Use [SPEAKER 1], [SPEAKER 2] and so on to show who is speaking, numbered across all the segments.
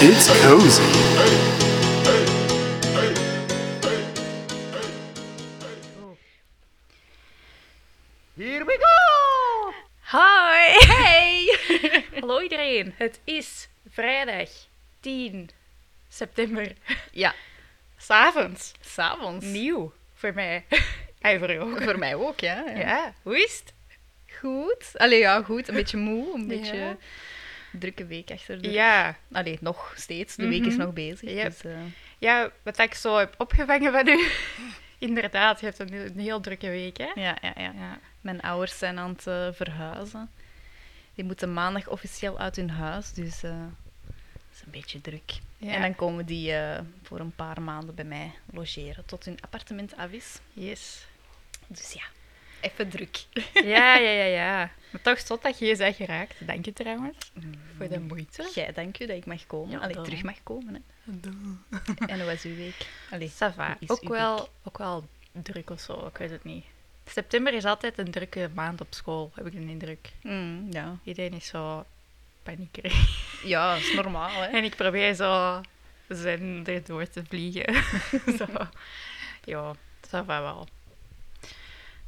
[SPEAKER 1] It's cozy.
[SPEAKER 2] Here we go!
[SPEAKER 3] Hoi!
[SPEAKER 2] Hey!
[SPEAKER 3] Hallo iedereen, het is vrijdag 10 september.
[SPEAKER 2] Ja,
[SPEAKER 3] S'avonds.
[SPEAKER 2] s'avonds.
[SPEAKER 3] Nieuw voor mij. En voor jou ook.
[SPEAKER 2] Voor mij ook, ja. ja.
[SPEAKER 3] Ja, hoe is het?
[SPEAKER 2] Goed. Allee, ja, goed. Een beetje moe, een
[SPEAKER 3] Ja.
[SPEAKER 2] beetje een drukke week achter de
[SPEAKER 3] Ja.
[SPEAKER 2] Allee, nog steeds. De week is
[SPEAKER 3] Mhm.
[SPEAKER 2] nog bezig.
[SPEAKER 3] Yep.
[SPEAKER 2] Dus, eh,
[SPEAKER 3] ja, wat ik zo heb opgevangen van u. Inderdaad, je hebt een, een heel drukke week, hè?
[SPEAKER 2] ja, ja, ja.
[SPEAKER 3] Ja.
[SPEAKER 2] Mijn ouders zijn aan het eh, verhuizen. Die moeten maandag officieel uit hun huis, dus eh dat is een beetje druk.
[SPEAKER 3] Ja.
[SPEAKER 2] En dan komen die eh, voor een paar maanden bij mij logeren, tot hun appartement af is.
[SPEAKER 3] Yes.
[SPEAKER 2] Dus ja, even druk.
[SPEAKER 3] Ja, ja, ja, ja. Maar toch zot dat je je bent geraakt. Dank je trouwens.
[SPEAKER 2] Mm.
[SPEAKER 3] Voor de moeite.
[SPEAKER 2] Jij, dank u dat ik mag komen.
[SPEAKER 3] Ja,
[SPEAKER 2] Allee,
[SPEAKER 3] daarom.
[SPEAKER 2] terug mag komen. Hè. En hoe was uw week? Allee,
[SPEAKER 3] Sava.
[SPEAKER 2] hoe is
[SPEAKER 3] Ook
[SPEAKER 2] uw
[SPEAKER 3] wel, ook wel druk of zo, ik weet het niet. September is altijd een drukke maand op school, heb ik de indruk.
[SPEAKER 2] week? Mm, ja.
[SPEAKER 3] Iedereen is zo paniekerig.
[SPEAKER 2] ja, is normaal. Hè?
[SPEAKER 3] En ik probeer zo zen erdoor te vliegen. zo. Ja, dat va wel.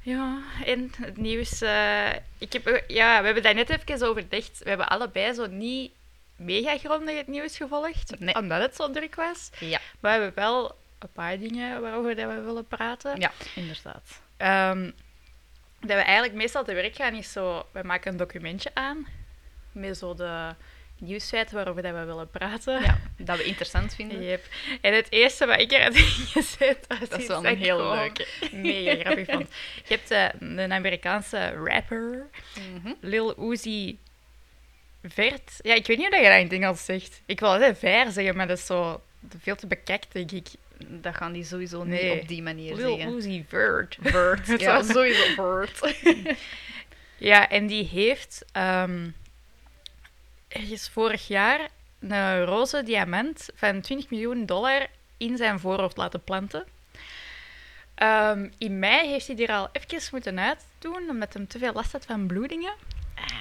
[SPEAKER 3] Ja, en het nieuws. eh, ik heb, ja, we hebben daar net even over dicht. We hebben allebei zo niet mega grondig het nieuws gevolgd.
[SPEAKER 2] Nee.
[SPEAKER 3] Omdat het zo druk was.
[SPEAKER 2] Ja,
[SPEAKER 3] Maar we hebben wel een paar dingen waarover dat we willen praten.
[SPEAKER 2] ja, inderdaad.
[SPEAKER 3] Ehm, dat we eigenlijk meestal te werk gaan is zo... We maken een documentje aan met zo de nieuwsfeiten waarover dat we willen praten.
[SPEAKER 2] Ja, dat we interessant vinden.
[SPEAKER 3] Yep. En het eerste wat ik er had ingezet was
[SPEAKER 2] Dat is
[SPEAKER 3] iets
[SPEAKER 2] wel een
[SPEAKER 3] ik
[SPEAKER 2] heel
[SPEAKER 3] gewoon
[SPEAKER 2] leuke.
[SPEAKER 3] mega grappig vond. Je hebt eh, een Amerikaanse rapper,
[SPEAKER 2] Mhm.
[SPEAKER 3] Lil Uzi Vert. Ja, ik weet niet hoe dat je dat in het Engels zegt. Ik wil altijd ver zeggen, maar dat is zo veel te bekakt, denk ik.
[SPEAKER 2] Dat gaan die sowieso
[SPEAKER 3] Nee.
[SPEAKER 2] niet op die manier
[SPEAKER 3] Lil
[SPEAKER 2] zeggen.
[SPEAKER 3] Uzi Vert. Vert,
[SPEAKER 2] Ja, sowieso bird.
[SPEAKER 3] Ja, en die heeft ehm ergens vorig jaar een roze diamant van 20 miljoen dollar in zijn voorhoofd laten planten. Ehm, in mei heeft hij er al even moeten uitdoen, omdat hij te veel last had van bloedingen.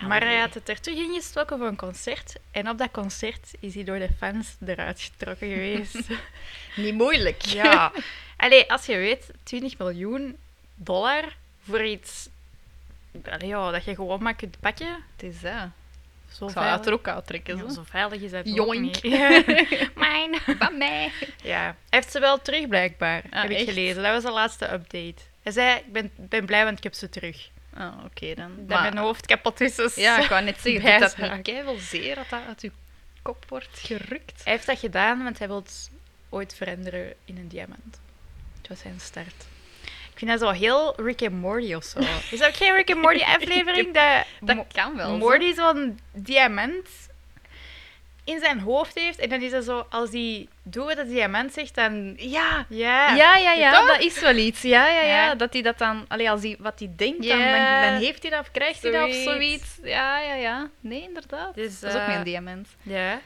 [SPEAKER 3] Maar hij had het er terug ingestoken voor een concert. En op dat concert is hij door de fans eruit getrokken geweest.
[SPEAKER 2] Niet moeilijk.
[SPEAKER 3] Ja. Allee, als je weet, 20 miljoen dollar voor iets allee, ja, dat je gewoon maar kunt pakken.
[SPEAKER 2] Het is dat.
[SPEAKER 3] Zo
[SPEAKER 2] Ik zou
[SPEAKER 3] veilig,
[SPEAKER 2] dat er ook uittrekken.
[SPEAKER 3] ja,
[SPEAKER 2] zo.
[SPEAKER 3] zo veilig is dat ook
[SPEAKER 2] Joink.
[SPEAKER 3] niet. Mijn.
[SPEAKER 2] Van mij.
[SPEAKER 3] Ja. Hij heeft ze wel terug, blijkbaar.
[SPEAKER 2] Ah,
[SPEAKER 3] heb ik
[SPEAKER 2] echt?
[SPEAKER 3] gelezen. Dat was de laatste update. Hij zei, ik ben, ben blij, want ik heb ze terug.
[SPEAKER 2] Ah, oké dan.
[SPEAKER 3] Dat
[SPEAKER 2] Maar-
[SPEAKER 3] mijn hoofd kapot is. dus-
[SPEAKER 2] Ja, ik wou net zeggen, doet dat
[SPEAKER 3] bijzaak.
[SPEAKER 2] niet keivel zeer dat dat uit uw kop wordt gerukt.
[SPEAKER 3] Hij heeft dat gedaan, want hij wil het ooit veranderen in een diamant. Het was zijn start. Ik vind dat zo heel Rick and Morty of zo. Is dat ook geen Rick and Morty aflevering? dat Mo-
[SPEAKER 2] Dat kan wel. zo.
[SPEAKER 3] Morty zo'n diamant in zijn hoofd heeft. En dan is dat zo, als hij doet wat dat diamant zegt, dan...
[SPEAKER 2] Ja,
[SPEAKER 3] Ja.
[SPEAKER 2] Ja, ja, ja,
[SPEAKER 3] Toch?
[SPEAKER 2] dat is wel iets. Ja, ja, ja.
[SPEAKER 3] Ja.
[SPEAKER 2] Dat hij dat dan, allee, als hij wat hij denkt, dan,
[SPEAKER 3] Ja.
[SPEAKER 2] dan, dan heeft hij dat of krijgt hij dat of
[SPEAKER 3] Zoiets.
[SPEAKER 2] zoiets. Ja, ja, ja. Nee, inderdaad.
[SPEAKER 3] Dus,
[SPEAKER 2] dat is ook
[SPEAKER 3] eh,
[SPEAKER 2] mijn diamant.
[SPEAKER 3] Ja. Het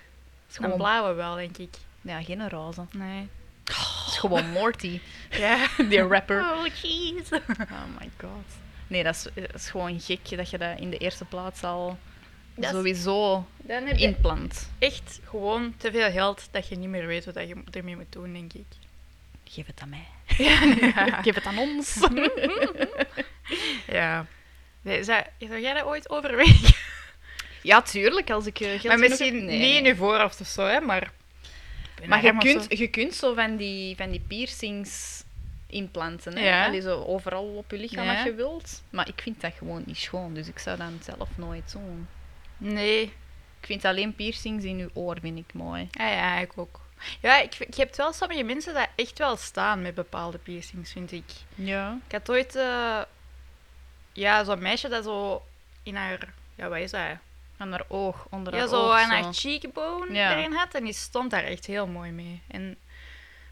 [SPEAKER 3] is gewoon
[SPEAKER 2] Een
[SPEAKER 3] blauwe wel, denk ik.
[SPEAKER 2] Ja, geen roze.
[SPEAKER 3] Nee.
[SPEAKER 2] Het is gewoon Morty,
[SPEAKER 3] Ja.
[SPEAKER 2] die rapper.
[SPEAKER 3] Oh, jeez.
[SPEAKER 2] Oh my god. Nee, dat is, dat is gewoon gek dat je dat in de eerste plaats al
[SPEAKER 3] Dat is-
[SPEAKER 2] sowieso
[SPEAKER 3] Dan heb je
[SPEAKER 2] inplant.
[SPEAKER 3] echt gewoon te veel geld dat je niet meer weet wat dat je ermee moet doen, denk ik.
[SPEAKER 2] Geef het aan mij.
[SPEAKER 3] Ja.
[SPEAKER 2] Geef het aan ons.
[SPEAKER 3] ja. Nee, zou, zou jij dat ooit overwegen?
[SPEAKER 2] ja, tuurlijk, als ik eh, geld
[SPEAKER 3] maar
[SPEAKER 2] genoeg
[SPEAKER 3] misschien
[SPEAKER 2] heb-
[SPEAKER 3] niet in je voorhoofd of zo, hè, maar...
[SPEAKER 2] Maar je
[SPEAKER 3] Arm of zo.
[SPEAKER 2] kunt, je kunt zo van die, van die piercings implanten. Hè?
[SPEAKER 3] Ja.
[SPEAKER 2] Allee, zo overal op je lichaam
[SPEAKER 3] Ja.
[SPEAKER 2] als je wilt. Maar ik vind dat gewoon niet schoon, dus ik zou dat zelf nooit doen.
[SPEAKER 3] Nee.
[SPEAKER 2] Ik vind alleen piercings in je oor vind ik mooi.
[SPEAKER 3] Ah ja, ik ook. Ja, ik, vind- je hebt wel sommige mensen dat echt wel staan met bepaalde piercings, vind ik.
[SPEAKER 2] Ja.
[SPEAKER 3] Ik had ooit... eh, ja, zo'n meisje dat zo in haar... Ja, wat is dat?
[SPEAKER 2] Aan haar oog, onder
[SPEAKER 3] Ja,
[SPEAKER 2] haar
[SPEAKER 3] zo
[SPEAKER 2] oog.
[SPEAKER 3] aan haar cheekbone
[SPEAKER 2] Ja.
[SPEAKER 3] erin had. En die stond daar echt heel mooi mee. En,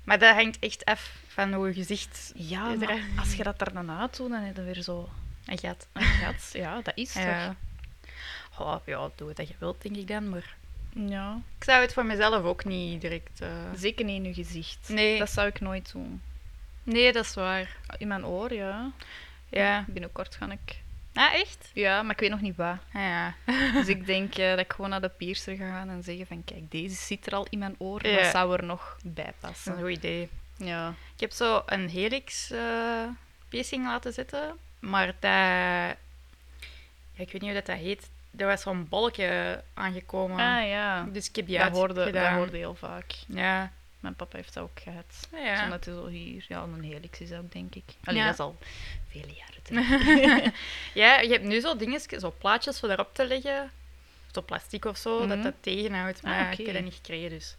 [SPEAKER 3] maar dat hangt echt af van hoe je gezicht
[SPEAKER 2] Ja, maar als je dat er dan uit doet, dan heb je weer zo
[SPEAKER 3] en gaat.
[SPEAKER 2] een gat. Ja, dat is toch.
[SPEAKER 3] Ja. Oh, ja, doe wat je wilt, denk ik dan. Maar
[SPEAKER 2] Ja.
[SPEAKER 3] ik zou het voor mezelf ook niet direct... eh,
[SPEAKER 2] Zeker niet in je gezicht.
[SPEAKER 3] Nee.
[SPEAKER 2] Dat zou ik nooit doen.
[SPEAKER 3] Nee, dat is waar.
[SPEAKER 2] In mijn oor, ja.
[SPEAKER 3] Ja.
[SPEAKER 2] Binnenkort ga ik
[SPEAKER 3] Ah, echt?
[SPEAKER 2] Ja, maar ik weet nog niet waar.
[SPEAKER 3] Ah, ja.
[SPEAKER 2] Dus ik denk eh, dat ik gewoon naar de piercer ga gaan en zeggen van kijk, deze zit er al in mijn oor,
[SPEAKER 3] Ja.
[SPEAKER 2] maar zou er nog bij
[SPEAKER 3] Dat is een
[SPEAKER 2] passen.
[SPEAKER 3] goed idee.
[SPEAKER 2] Ja.
[SPEAKER 3] Ik heb zo een helix eh, piercing laten zitten, maar dat... Ja, ik weet niet hoe dat, dat heet. Er was zo'n bolletje aangekomen.
[SPEAKER 2] Ah ja,
[SPEAKER 3] Dus ik heb die
[SPEAKER 2] ja dat, hoorde, dat
[SPEAKER 3] uitgedaan.
[SPEAKER 2] hoorde Ah, heel vaak.
[SPEAKER 3] Ja.
[SPEAKER 2] Mijn papa heeft dat ook gehad.
[SPEAKER 3] ja.
[SPEAKER 2] Zo net zo hier, ja, een helix is dat denk ik. Alleen
[SPEAKER 3] Ja.
[SPEAKER 2] dat is al vele jaren terug.
[SPEAKER 3] ja, je hebt nu zo dingetjes, zo plaatjes voor daarop te leggen. Zo plastic of zo, dat
[SPEAKER 2] Mhm.
[SPEAKER 3] dat tegenhoudt. Maar
[SPEAKER 2] Ah,
[SPEAKER 3] ik heb
[SPEAKER 2] oké.
[SPEAKER 3] dat niet gekregen, dus...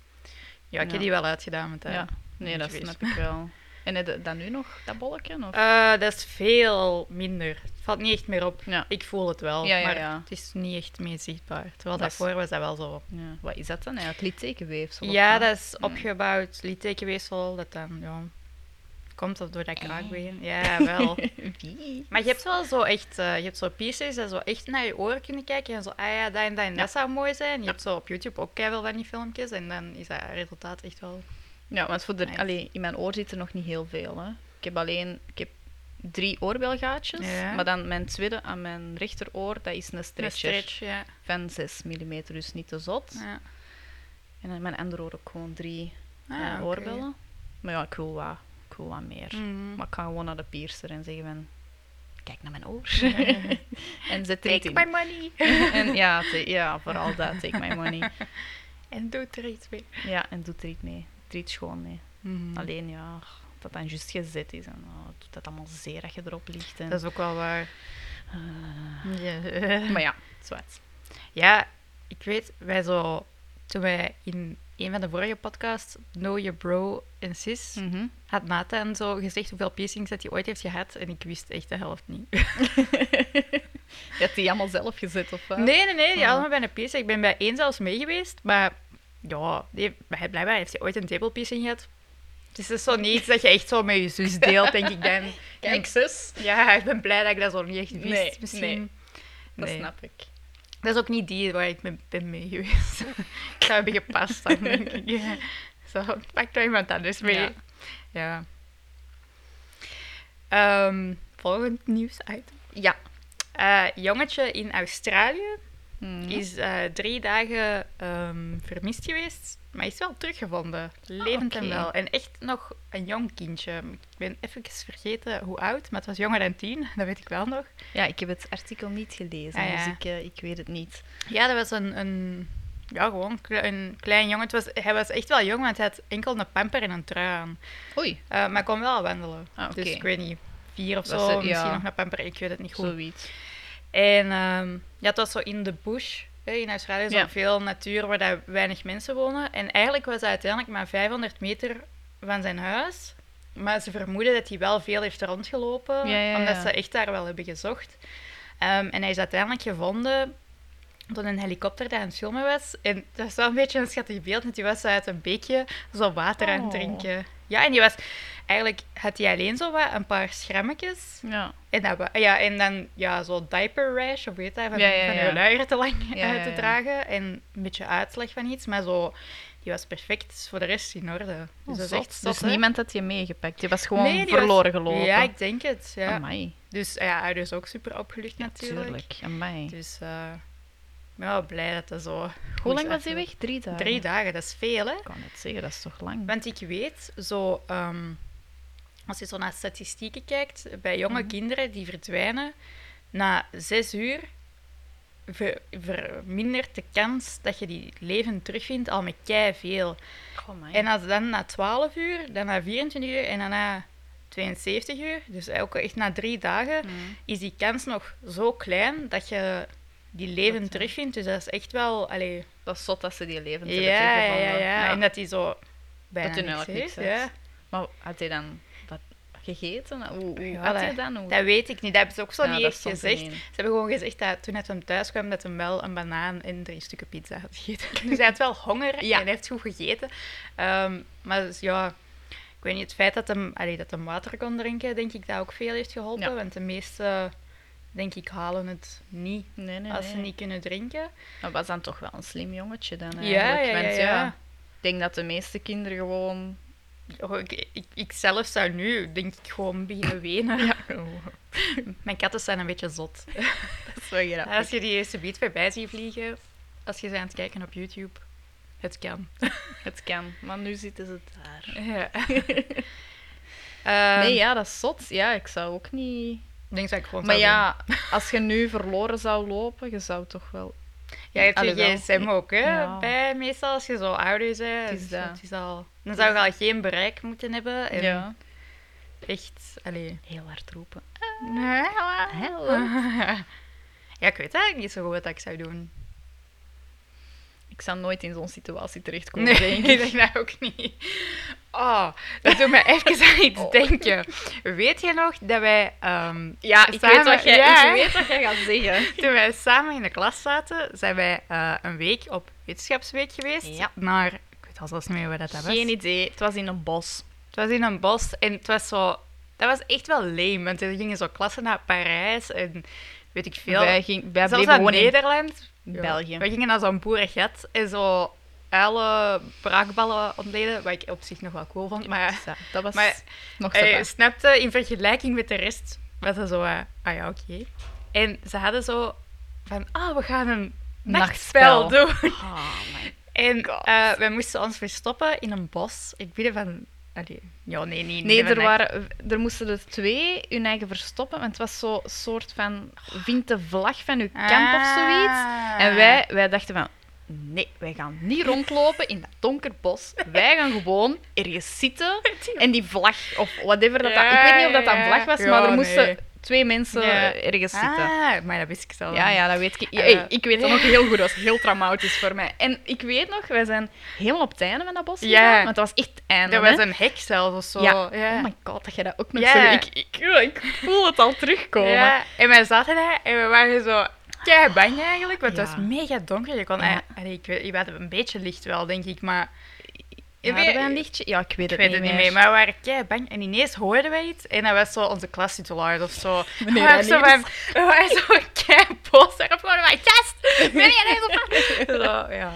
[SPEAKER 3] Ja, ik
[SPEAKER 2] Ja.
[SPEAKER 3] heb die wel uitgedaan met dat.
[SPEAKER 2] Ja, nee,
[SPEAKER 3] moet
[SPEAKER 2] dat
[SPEAKER 3] je weten.
[SPEAKER 2] snap ik wel. eh, En heb je dat nu nog, dat bolletje? Of?
[SPEAKER 3] Eh, dat is veel minder. Het valt niet echt meer op.
[SPEAKER 2] Ja.
[SPEAKER 3] Ik voel het wel,
[SPEAKER 2] Ja, ja,
[SPEAKER 3] maar
[SPEAKER 2] ja.
[SPEAKER 3] het is niet echt meer zichtbaar. Terwijl
[SPEAKER 2] Dat is-
[SPEAKER 3] daarvoor was dat wel zo.
[SPEAKER 2] Ja. Wat is dat dan eigenlijk? Littekenweefsel? of
[SPEAKER 3] Ja,
[SPEAKER 2] wat?
[SPEAKER 3] dat is
[SPEAKER 2] Mm.
[SPEAKER 3] opgebouwd littekenweefsel dat dan ja, komt of door dat kraakbeen. Ja, wel.
[SPEAKER 2] Wie?
[SPEAKER 3] Maar je hebt wel zo echt, eh, je hebt zo piercings dat zo echt naar je oren kunnen kijken en zo, ah ja, dat en dat en dat zou mooi zijn. Je hebt zo op YouTube ook wel van die filmpjes en dan is dat resultaat echt wel...
[SPEAKER 2] Ja, want voor de,
[SPEAKER 3] Nice.
[SPEAKER 2] allee, in mijn oor zitten nog niet heel veel. Hè. Ik heb alleen ik heb drie oorbelgaatjes,
[SPEAKER 3] Ja.
[SPEAKER 2] maar dan mijn tweede aan mijn rechteroor, dat is een
[SPEAKER 3] een
[SPEAKER 2] stretcher
[SPEAKER 3] stretch, ja.
[SPEAKER 2] van 6 mm, dus niet te zot.
[SPEAKER 3] ja.
[SPEAKER 2] En in mijn andere oor ook gewoon drie
[SPEAKER 3] Ah,
[SPEAKER 2] eh,
[SPEAKER 3] oké.
[SPEAKER 2] oorbellen. Maar ja, ik wil wat, ik wil wat meer.
[SPEAKER 3] Mhm.
[SPEAKER 2] Maar ik ga gewoon naar de piercer en zeggen van, kijk naar mijn oor.
[SPEAKER 3] Ja.
[SPEAKER 2] en zet er iets
[SPEAKER 3] Take
[SPEAKER 2] in.
[SPEAKER 3] my money
[SPEAKER 2] en ja, te- ja, vooral dat, take my money.
[SPEAKER 3] en doe er iets mee.
[SPEAKER 2] Ja, en doet er iets mee. Doet er iets gewoon mee.
[SPEAKER 3] Mhm.
[SPEAKER 2] Alleen ja, dat dan juist gezet is en oh, het doet dat allemaal zeer dat je erop ligt. En, Ah.
[SPEAKER 3] Dat is ook wel waar. Ja.
[SPEAKER 2] Maar ja, zwart.
[SPEAKER 3] Ja, ik weet, wij zo, toen wij in een van de vorige podcasts, Know Your Bro en Sis,
[SPEAKER 2] Mhm.
[SPEAKER 3] had Nathan zo gezegd hoeveel piercings dat hij ooit heeft gehad. En ik wist echt de helft niet.
[SPEAKER 2] Je hebt die allemaal zelf gezet of wat?
[SPEAKER 3] Nee, nee, nee, die
[SPEAKER 2] Ah.
[SPEAKER 3] allemaal bij een piercing. Ik ben bij één zelfs mee geweest, maar ja, die, heeft- hij- blijkbaar heeft hij ooit een table piercing gehad. Dus dat is zo niet iets dat je echt zo met je zus deelt, denk ik dan.
[SPEAKER 2] Kijk, zus.
[SPEAKER 3] Ja, ik ben blij dat ik dat zo niet echt wist,
[SPEAKER 2] Nee,
[SPEAKER 3] misschien.
[SPEAKER 2] nee. Dat
[SPEAKER 3] Nee.
[SPEAKER 2] snap ik.
[SPEAKER 3] Dat is ook niet die waar ik mee ben mee geweest. ik zou hebben gepast dan, denk ik. Ja. Zo, pak er iemand anders mee.
[SPEAKER 2] Ja.
[SPEAKER 3] Ja. Ehm, volgend nieuwsitem.
[SPEAKER 2] Ja.
[SPEAKER 3] Eh, jongetje in Australië
[SPEAKER 2] Mhm.
[SPEAKER 3] is eh, drie dagen ehm, vermist geweest, maar is wel teruggevonden. Levend en
[SPEAKER 2] oké.
[SPEAKER 3] wel. En echt nog een jong kindje. Ik ben even vergeten hoe oud, maar het was jonger dan tien, dat weet ik wel nog.
[SPEAKER 2] Ja, ik heb het artikel niet gelezen,
[SPEAKER 3] Ah, ja.
[SPEAKER 2] dus ik, eh, ik weet het niet.
[SPEAKER 3] Ja, dat was een, een ja, gewoon kle- een klein jongen. Het was, hij was echt wel jong, want hij had enkel een pamper en een trui aan.
[SPEAKER 2] Oei,
[SPEAKER 3] Eh, maar hij kon wel wandelen.
[SPEAKER 2] Ah, oké.
[SPEAKER 3] Dus ik weet niet, vier of
[SPEAKER 2] Dat
[SPEAKER 3] zo,
[SPEAKER 2] is, eh,
[SPEAKER 3] misschien
[SPEAKER 2] ja.
[SPEAKER 3] nog een pamper, ik weet het niet goed.
[SPEAKER 2] zoiets.
[SPEAKER 3] En ehm, ja, het was zo in de bush. hè, In Australië is
[SPEAKER 2] Ja.
[SPEAKER 3] er veel natuur waar daar weinig mensen wonen. En eigenlijk was hij uiteindelijk maar 500 meter van zijn huis. Maar ze vermoeden dat hij wel veel heeft rondgelopen,
[SPEAKER 2] Ja, ja,
[SPEAKER 3] omdat
[SPEAKER 2] ja.
[SPEAKER 3] ze echt daar wel hebben gezocht. Ehm, en hij is uiteindelijk gevonden door een helikopter die aan het filmen was. En dat is wel een beetje een schattig beeld, want die was uit een beekje zo water aan het
[SPEAKER 2] Oh.
[SPEAKER 3] drinken. Ja, en die was... Eigenlijk had hij alleen zo wat, een paar schrammetjes.
[SPEAKER 2] Ja.
[SPEAKER 3] En, dat, we- ja, en dan ja, zo'n diaper rash, of weet dat, van,
[SPEAKER 2] Ja, ja,
[SPEAKER 3] van
[SPEAKER 2] ja.
[SPEAKER 3] je luier te lang
[SPEAKER 2] Ja,
[SPEAKER 3] uit
[SPEAKER 2] ja,
[SPEAKER 3] te
[SPEAKER 2] ja.
[SPEAKER 3] dragen. En een beetje uitslag van iets, maar zo, die was perfect is voor de rest in orde. Dus dat is echt zot,
[SPEAKER 2] dus
[SPEAKER 3] hè?
[SPEAKER 2] niemand had je meegepakt. Je was gewoon
[SPEAKER 3] Nee, die
[SPEAKER 2] verloren
[SPEAKER 3] was-
[SPEAKER 2] gelopen.
[SPEAKER 3] Ja, ik denk het. Ja.
[SPEAKER 2] Amai.
[SPEAKER 3] Dus ja, ouders ook super opgelucht natuurlijk.
[SPEAKER 2] Natuurlijk. Amai.
[SPEAKER 3] Dus eh, ik ben wel blij dat dat zo...
[SPEAKER 2] Hoe lang was hij weg? Drie dagen.
[SPEAKER 3] Drie dagen, dat is veel hè.
[SPEAKER 2] Ik kan het zeggen, dat is toch lang?
[SPEAKER 3] Want ik weet, zo, ehm, als je zo naar statistieken kijkt, bij jonge
[SPEAKER 2] Mhm.
[SPEAKER 3] kinderen die verdwijnen, na zes uur ver- vermindert de kans dat je die levend terugvindt al met kei
[SPEAKER 2] Ah,
[SPEAKER 3] veel. En als dan na 12 uur, dan na 24 uur en dan na 72 uur, dus ook echt na drie dagen,
[SPEAKER 2] Mhm.
[SPEAKER 3] is die kans nog zo klein dat je die levend
[SPEAKER 2] Dat, ja.
[SPEAKER 3] terugvindt. Dus dat is echt wel. Allee,
[SPEAKER 2] Dat is zot dat ze die levend
[SPEAKER 3] ja,
[SPEAKER 2] hebben
[SPEAKER 3] ja, ja,
[SPEAKER 2] teruggevonden.
[SPEAKER 3] En dat die zo bijna
[SPEAKER 2] hij
[SPEAKER 3] niks
[SPEAKER 2] eigenlijk
[SPEAKER 3] heeft.
[SPEAKER 2] nou niks had.
[SPEAKER 3] Ja.
[SPEAKER 2] Maar had hij dan wat gegeten? Hoe, hoe
[SPEAKER 3] Ja,
[SPEAKER 2] had hij dan? Hoe...
[SPEAKER 3] Dat weet ik niet. Dat hebben ze ook zo
[SPEAKER 2] Ja,
[SPEAKER 3] niet
[SPEAKER 2] dat
[SPEAKER 3] echt
[SPEAKER 2] stond er
[SPEAKER 3] gezegd.
[SPEAKER 2] niet in.
[SPEAKER 3] Ze hebben gewoon gezegd dat toen hij van thuis kwam, dat hij wel een banaan en drie stukken pizza had gegeten. Dus hij had wel honger
[SPEAKER 2] Ja.
[SPEAKER 3] en hij heeft goed gegeten. Ehm, maar dus, ja, ik weet niet, het feit dat hem, allee, dat hem water kon drinken, denk ik dat ook veel heeft geholpen.
[SPEAKER 2] Ja.
[SPEAKER 3] Want de meeste, denk ik, halen het niet
[SPEAKER 2] Nee, nee,
[SPEAKER 3] als ze
[SPEAKER 2] nee.
[SPEAKER 3] niet kunnen drinken.
[SPEAKER 2] Dat was dan toch wel een slim jongetje dan
[SPEAKER 3] Ja,
[SPEAKER 2] eigenlijk.
[SPEAKER 3] ja, ja,
[SPEAKER 2] Want
[SPEAKER 3] ja.
[SPEAKER 2] Ik denk dat de meeste kinderen gewoon
[SPEAKER 3] Oh, ik, ik, ik zelf zou nu, denk ik, gewoon beginnen wenen. Mijn katten zijn een beetje zot.
[SPEAKER 2] Dat is wel grappig.
[SPEAKER 3] Als je die eerste beat voorbij ziet vliegen, als je ze aan het kijken op YouTube, het kan.
[SPEAKER 2] Het kan, maar nu zitten ze daar.
[SPEAKER 3] Ja. Ehm,
[SPEAKER 2] Nee,
[SPEAKER 3] nee,
[SPEAKER 2] ja, dat is zot. Ja, ik zou ook niet...
[SPEAKER 3] Ik denk dat ik gewoon
[SPEAKER 2] Maar
[SPEAKER 3] zou
[SPEAKER 2] ja, als je nu verloren zou lopen, je zou toch wel...
[SPEAKER 3] doen. Jij hebt
[SPEAKER 2] Alhoewel,
[SPEAKER 3] je gsm ook, hè?
[SPEAKER 2] ja.
[SPEAKER 3] Bij, meestal als je zo ouder bent.
[SPEAKER 2] Het is
[SPEAKER 3] dus
[SPEAKER 2] dat.
[SPEAKER 3] het is al... Dan zou je al geen bereik moeten hebben. En
[SPEAKER 2] Ja.
[SPEAKER 3] Echt, allee...
[SPEAKER 2] Heel hard roepen.
[SPEAKER 3] Ja, ik weet eigenlijk niet zo goed wat ik zou doen.
[SPEAKER 2] Ik zou nooit in zo'n situatie terechtkomen,
[SPEAKER 3] Nee,
[SPEAKER 2] denk
[SPEAKER 3] ik denk
[SPEAKER 2] ik.
[SPEAKER 3] dat ook niet. Oh, dat doet me even aan iets
[SPEAKER 2] Oh.
[SPEAKER 3] denken. Weet je nog dat wij... ehm, ja, ja,
[SPEAKER 2] ja, ik weet wat jij gaat zeggen.
[SPEAKER 3] Toen wij samen in de klas zaten, zijn wij eh, een week op wetenschapsweek geweest.
[SPEAKER 2] Ja.
[SPEAKER 3] Naar, ik weet al zelfs niet meer waar dat was.
[SPEAKER 2] Geen idee. Het was in een bos.
[SPEAKER 3] Het was in een bos en het was zo... Dat was echt wel lame, want we gingen zo klassen naar Parijs en weet ik veel.
[SPEAKER 2] Wij, ging, wij
[SPEAKER 3] Zelfs
[SPEAKER 2] bleven
[SPEAKER 3] naar
[SPEAKER 2] gewoon in
[SPEAKER 3] Nederland. Ja.
[SPEAKER 2] België.
[SPEAKER 3] We gingen naar zo'n boerengat en zo alle braakballen ontleden, wat ik op zich nog wel cool vond. Maar
[SPEAKER 2] Dus ja, dat was
[SPEAKER 3] Maar,
[SPEAKER 2] nog
[SPEAKER 3] eh,
[SPEAKER 2] zo.
[SPEAKER 3] snapte, in vergelijking met de rest was dat zo, eh, ah ja, oké. En ze hadden zo van, ah, we gaan een nachtspel,
[SPEAKER 2] Nachtspel.
[SPEAKER 3] doen.
[SPEAKER 2] Oh, my
[SPEAKER 3] En
[SPEAKER 2] God.
[SPEAKER 3] eh, wij moesten ons verstoppen in een bos. Ik bieden van, allee, ja, nee, niet.
[SPEAKER 2] Nee,
[SPEAKER 3] niet van
[SPEAKER 2] er,
[SPEAKER 3] nacht.
[SPEAKER 2] waren, er moesten er twee hun eigen verstoppen. Want het was zo'n soort van... Vind de vlag van uw kamp of zoiets.
[SPEAKER 3] Ah.
[SPEAKER 2] En wij, wij dachten van... Nee, wij gaan niet rondlopen in dat donker bos. Wij gaan gewoon ergens zitten. En die vlag, of whatever dat dat... Ik weet niet of dat dat een vlag was,
[SPEAKER 3] Ja,
[SPEAKER 2] maar er
[SPEAKER 3] nee.
[SPEAKER 2] moesten twee mensen
[SPEAKER 3] Ja.
[SPEAKER 2] eh, ergens zitten.
[SPEAKER 3] Ah, maar dat wist ik zelf
[SPEAKER 2] Ja,
[SPEAKER 3] niet.
[SPEAKER 2] ja, dat weet ik.
[SPEAKER 3] Eh,
[SPEAKER 2] Hey, ik weet dat nog heel goed. Dat was heel traumatisch voor mij. En ik weet nog, wij zijn helemaal op het einde van dat bos
[SPEAKER 3] Ja.
[SPEAKER 2] gegaan, Want dat was echt het einde.
[SPEAKER 3] Dat
[SPEAKER 2] hè.
[SPEAKER 3] was een hek zelf of zo.
[SPEAKER 2] Ja. Oh my god, dat jij dat ook nog
[SPEAKER 3] Ja.
[SPEAKER 2] zo... Ik, ik, ik voel het al terugkomen.
[SPEAKER 3] Ja, en wij zaten daar en we waren zo kei bang eigenlijk, want het
[SPEAKER 2] Ja.
[SPEAKER 3] was mega donker. Je kon,
[SPEAKER 2] Ja.
[SPEAKER 3] eigenlijk- allee, ik weet, je had een beetje licht wel, denk ik, maar...
[SPEAKER 2] Hadden
[SPEAKER 3] weet-
[SPEAKER 2] wij een lichtje? Ja, ik weet
[SPEAKER 3] Ik
[SPEAKER 2] het,
[SPEAKER 3] weet het
[SPEAKER 2] niet,
[SPEAKER 3] niet
[SPEAKER 2] meer.
[SPEAKER 3] meer, maar we waren kei bang. En ineens hoorden wij iets en dat was zo onze klastitularis of zo.
[SPEAKER 2] Meneer
[SPEAKER 3] we waren zo,
[SPEAKER 2] Aniers.
[SPEAKER 3] van- we waren zo kei boos daarop geworden, maar yes, meneer Aniers of zo. ja.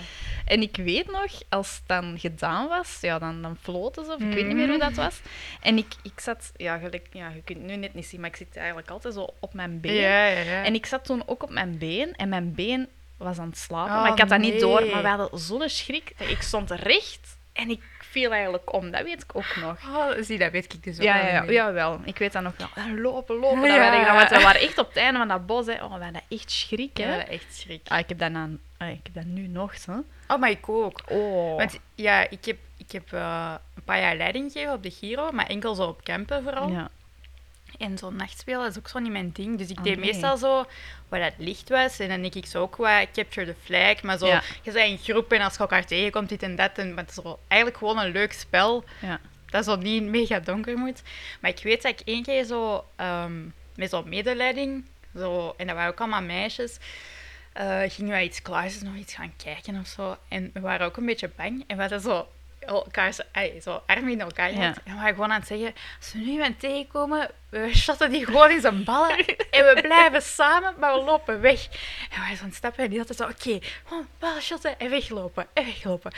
[SPEAKER 2] En ik weet nog, als het dan gedaan was, ja, dan, dan floten ze, of ik weet niet
[SPEAKER 3] Mhm.
[SPEAKER 2] meer hoe dat was. En ik, ik zat, ja, gelijk, ja, je kunt het nu net niet zien, maar ik zit eigenlijk altijd zo op mijn been.
[SPEAKER 3] ja, ja, ja.
[SPEAKER 2] En ik zat toen ook op mijn been en mijn been was aan het slapen,
[SPEAKER 3] Oh,
[SPEAKER 2] maar ik had dat niet door.
[SPEAKER 3] nee.
[SPEAKER 2] Maar we hadden zo'n schrik dat ik stond recht en ik viel eigenlijk om. Dat weet ik ook nog.
[SPEAKER 3] Oh, zie, dat weet ik dus ook
[SPEAKER 2] Ja,
[SPEAKER 3] wel
[SPEAKER 2] ja,
[SPEAKER 3] niet
[SPEAKER 2] ja,
[SPEAKER 3] meer.
[SPEAKER 2] jawel. Ik weet dat nog wel. Eh, Lopen, lopen. Dat
[SPEAKER 3] Ja.
[SPEAKER 2] waren, gedaan, want we waren echt op het einde van dat bos. Hè. Oh, we hadden echt schrik, hè.
[SPEAKER 3] Ja, echt schrik.
[SPEAKER 2] Ah, ik, heb dat na, ah, ik heb dat nu nog, hè.
[SPEAKER 3] Oh, maar ik ook.
[SPEAKER 2] Oh.
[SPEAKER 3] Want ja, ik heb, ik heb eh, een paar jaar leiding gegeven op de Giro, maar enkel zo op campen vooral.
[SPEAKER 2] Ja.
[SPEAKER 3] En zo'n nachtspelen is ook zo niet mijn ding. Dus ik
[SPEAKER 2] Oh,
[SPEAKER 3] deed
[SPEAKER 2] nee.
[SPEAKER 3] meestal zo waar het licht was. En dan denk ik zo ook wat capture the flag. Maar zo,
[SPEAKER 2] Ja.
[SPEAKER 3] je bent in groep en als je elkaar tegenkomt, dit en dat. En maar het is zo eigenlijk gewoon een leuk spel.
[SPEAKER 2] ja.
[SPEAKER 3] Dat zo niet mega donker moet. Maar ik weet dat ik één keer zo ehm, met zo'n medeleiding, zo, en dat waren ook allemaal meisjes, eh, gingen wij iets klaarzetten, nog iets gaan kijken of zo. En we waren ook een beetje bang. En we hadden zo elkaar zo, ai, zo arm in elkaar gehad.
[SPEAKER 2] Ja.
[SPEAKER 3] En we waren gewoon aan het zeggen, als we nu iemand tegenkomen, we shotten die gewoon in zijn ballen. en we blijven samen, maar we lopen weg. En wij zo'n stappen en die altijd zo, oké, gewoon ballen shotten en weglopen, en weglopen.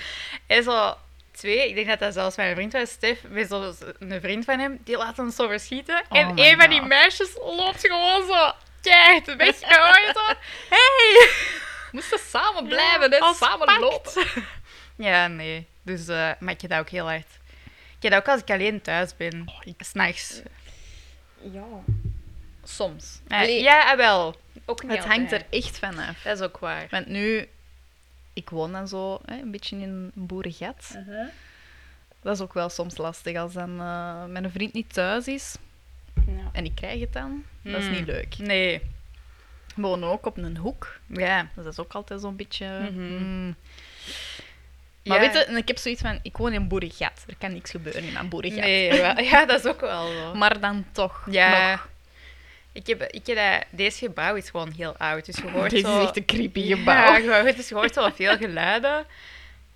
[SPEAKER 3] En zo twee, ik denk dat dat zelfs mijn vriend was, Stef, met zo een vriend van hem, die laat ons zo verschieten.
[SPEAKER 2] Oh
[SPEAKER 3] en
[SPEAKER 2] my
[SPEAKER 3] een van die
[SPEAKER 2] God.
[SPEAKER 3] meisjes loopt gewoon zo keihard weg. En wij zo, hey!
[SPEAKER 2] We moesten samen blijven, hè.
[SPEAKER 3] Als
[SPEAKER 2] samen
[SPEAKER 3] pact.
[SPEAKER 2] lopen.
[SPEAKER 3] Ja, nee. Dus, eh, maar ik heb dat ook heel hard. Ik heb dat ook als ik alleen thuis ben.
[SPEAKER 2] Oh, Eh,
[SPEAKER 3] S'nachts.
[SPEAKER 2] Ja. Soms.
[SPEAKER 3] Eh,
[SPEAKER 2] Allee,
[SPEAKER 3] ja, ah, wel. Ook niet
[SPEAKER 2] het hangt er
[SPEAKER 3] altijd.
[SPEAKER 2] echt van af.
[SPEAKER 3] Dat is ook waar.
[SPEAKER 2] Want nu, ik woon dan zo hè, een beetje in een boerengat. Dat is ook wel soms lastig als dan eh, mijn vriend niet thuis is en ik krijg het dan. Dat is
[SPEAKER 3] Hmm.
[SPEAKER 2] niet leuk.
[SPEAKER 3] Nee.
[SPEAKER 2] We wonen ook op een hoek,
[SPEAKER 3] Ja.
[SPEAKER 2] dus dat is ook altijd zo'n beetje.
[SPEAKER 3] Mhm.
[SPEAKER 2] mm. Maar
[SPEAKER 3] Ja.
[SPEAKER 2] weet je, en ik heb zoiets van: ik woon in een boerengat. Er kan niks gebeuren in mijn boerengat.
[SPEAKER 3] Nee, wel. ja, dat is ook wel zo.
[SPEAKER 2] Maar dan toch.
[SPEAKER 3] Ja.
[SPEAKER 2] nog.
[SPEAKER 3] Ik heb, ik heb dat- deze gebouw is gewoon heel oud. Dus je hoort
[SPEAKER 2] Dit
[SPEAKER 3] zo...
[SPEAKER 2] is echt een creepy
[SPEAKER 3] Ja,
[SPEAKER 2] gebouw.
[SPEAKER 3] gewoon, dus je hoort zo veel geluiden.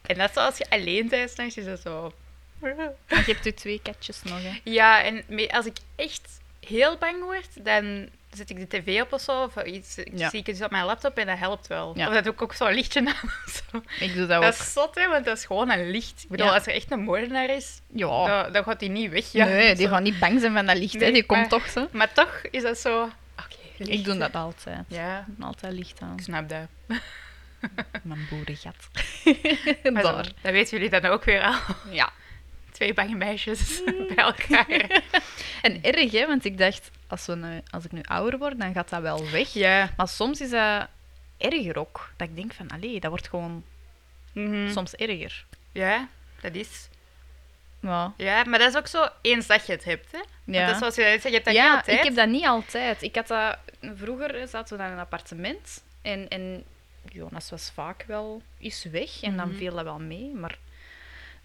[SPEAKER 3] En dat is zoals je alleen bent, s'nachts is dat zo...
[SPEAKER 2] Want Je hebt je twee katjes nog, hè?
[SPEAKER 3] Ja, en me- als ik echt heel bang word, dan zet ik de tv op of zo. Of iets, ik
[SPEAKER 2] Ja.
[SPEAKER 3] zie ik iets op mijn laptop en dat helpt wel.
[SPEAKER 2] Ja.
[SPEAKER 3] Of dat doe ik ook zo'n lichtje aan of zo.
[SPEAKER 2] Ik doe dat,
[SPEAKER 3] Dat
[SPEAKER 2] ook.
[SPEAKER 3] is zot, hè, want dat is gewoon een licht. Ik bedoel,
[SPEAKER 2] Ja.
[SPEAKER 3] als er echt een moordenaar is,
[SPEAKER 2] Ja.
[SPEAKER 3] dan, dan gaat hij niet weg. Ja.
[SPEAKER 2] nee, die
[SPEAKER 3] Zo.
[SPEAKER 2] gaan niet bang zijn van dat licht, hè.
[SPEAKER 3] Nee,
[SPEAKER 2] Die komt
[SPEAKER 3] maar-
[SPEAKER 2] toch, zo.
[SPEAKER 3] Maar toch is dat zo... Oké, licht.
[SPEAKER 2] Ik doe dat altijd.
[SPEAKER 3] Ja,
[SPEAKER 2] Ik doe Altijd licht aan.
[SPEAKER 3] ik snap dat.
[SPEAKER 2] Mijn boerengat.
[SPEAKER 3] Maar zo,
[SPEAKER 2] Daar.
[SPEAKER 3] Dan weten jullie dan ook weer al.
[SPEAKER 2] Ja.
[SPEAKER 3] Twee bange meisjes bij elkaar.
[SPEAKER 2] En erg, hè, want ik dacht, als, we nu, als ik nu ouder word, dan gaat dat wel weg.
[SPEAKER 3] ja.
[SPEAKER 2] Maar soms is dat erger ook. Dat ik denk van, allee, dat wordt gewoon
[SPEAKER 3] Mhm.
[SPEAKER 2] soms erger.
[SPEAKER 3] Ja, dat is.
[SPEAKER 2] Ja,
[SPEAKER 3] Ja, maar dat is ook zo eens dat je het hebt, hè? Want
[SPEAKER 2] Ja.
[SPEAKER 3] dat is zoals je net zei, je hebt dat niet
[SPEAKER 2] ja
[SPEAKER 3] altijd.
[SPEAKER 2] ik heb dat niet altijd. Ik had dat... Vroeger hè, zaten we dan in een appartement. En, en Jonas was vaak wel eens weg. En dan
[SPEAKER 3] Mhm.
[SPEAKER 2] viel dat wel mee. Maar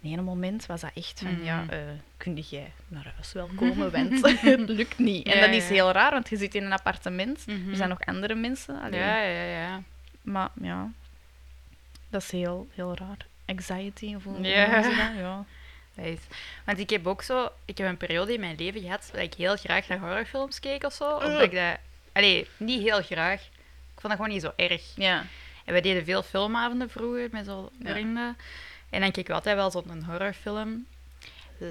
[SPEAKER 2] in ene moment was dat echt van...
[SPEAKER 3] Mhm.
[SPEAKER 2] Ja, eh kun jij naar huis wel komen? Want het lukt niet. En
[SPEAKER 3] Ja,
[SPEAKER 2] dat is
[SPEAKER 3] ja.
[SPEAKER 2] heel raar, want je zit in een appartement.
[SPEAKER 3] Mhm.
[SPEAKER 2] Er zijn nog andere mensen. allee.
[SPEAKER 3] Ja, ja, ja.
[SPEAKER 2] Maar ja, dat is heel, heel raar. Anxiety, of hoe
[SPEAKER 3] Ja.
[SPEAKER 2] noemen ze dat? Ja.
[SPEAKER 3] Dat is. Want ik heb ook zo... Ik heb een periode in mijn leven gehad dat ik heel graag naar horrorfilms keek of zo. Omdat ik dat... Allee, niet heel graag. Ik vond dat gewoon niet zo erg.
[SPEAKER 2] ja.
[SPEAKER 3] En we deden veel filmavonden vroeger met zo'n
[SPEAKER 2] Ja.
[SPEAKER 3] vrienden. En dan keek we altijd wel zo'n horrorfilm.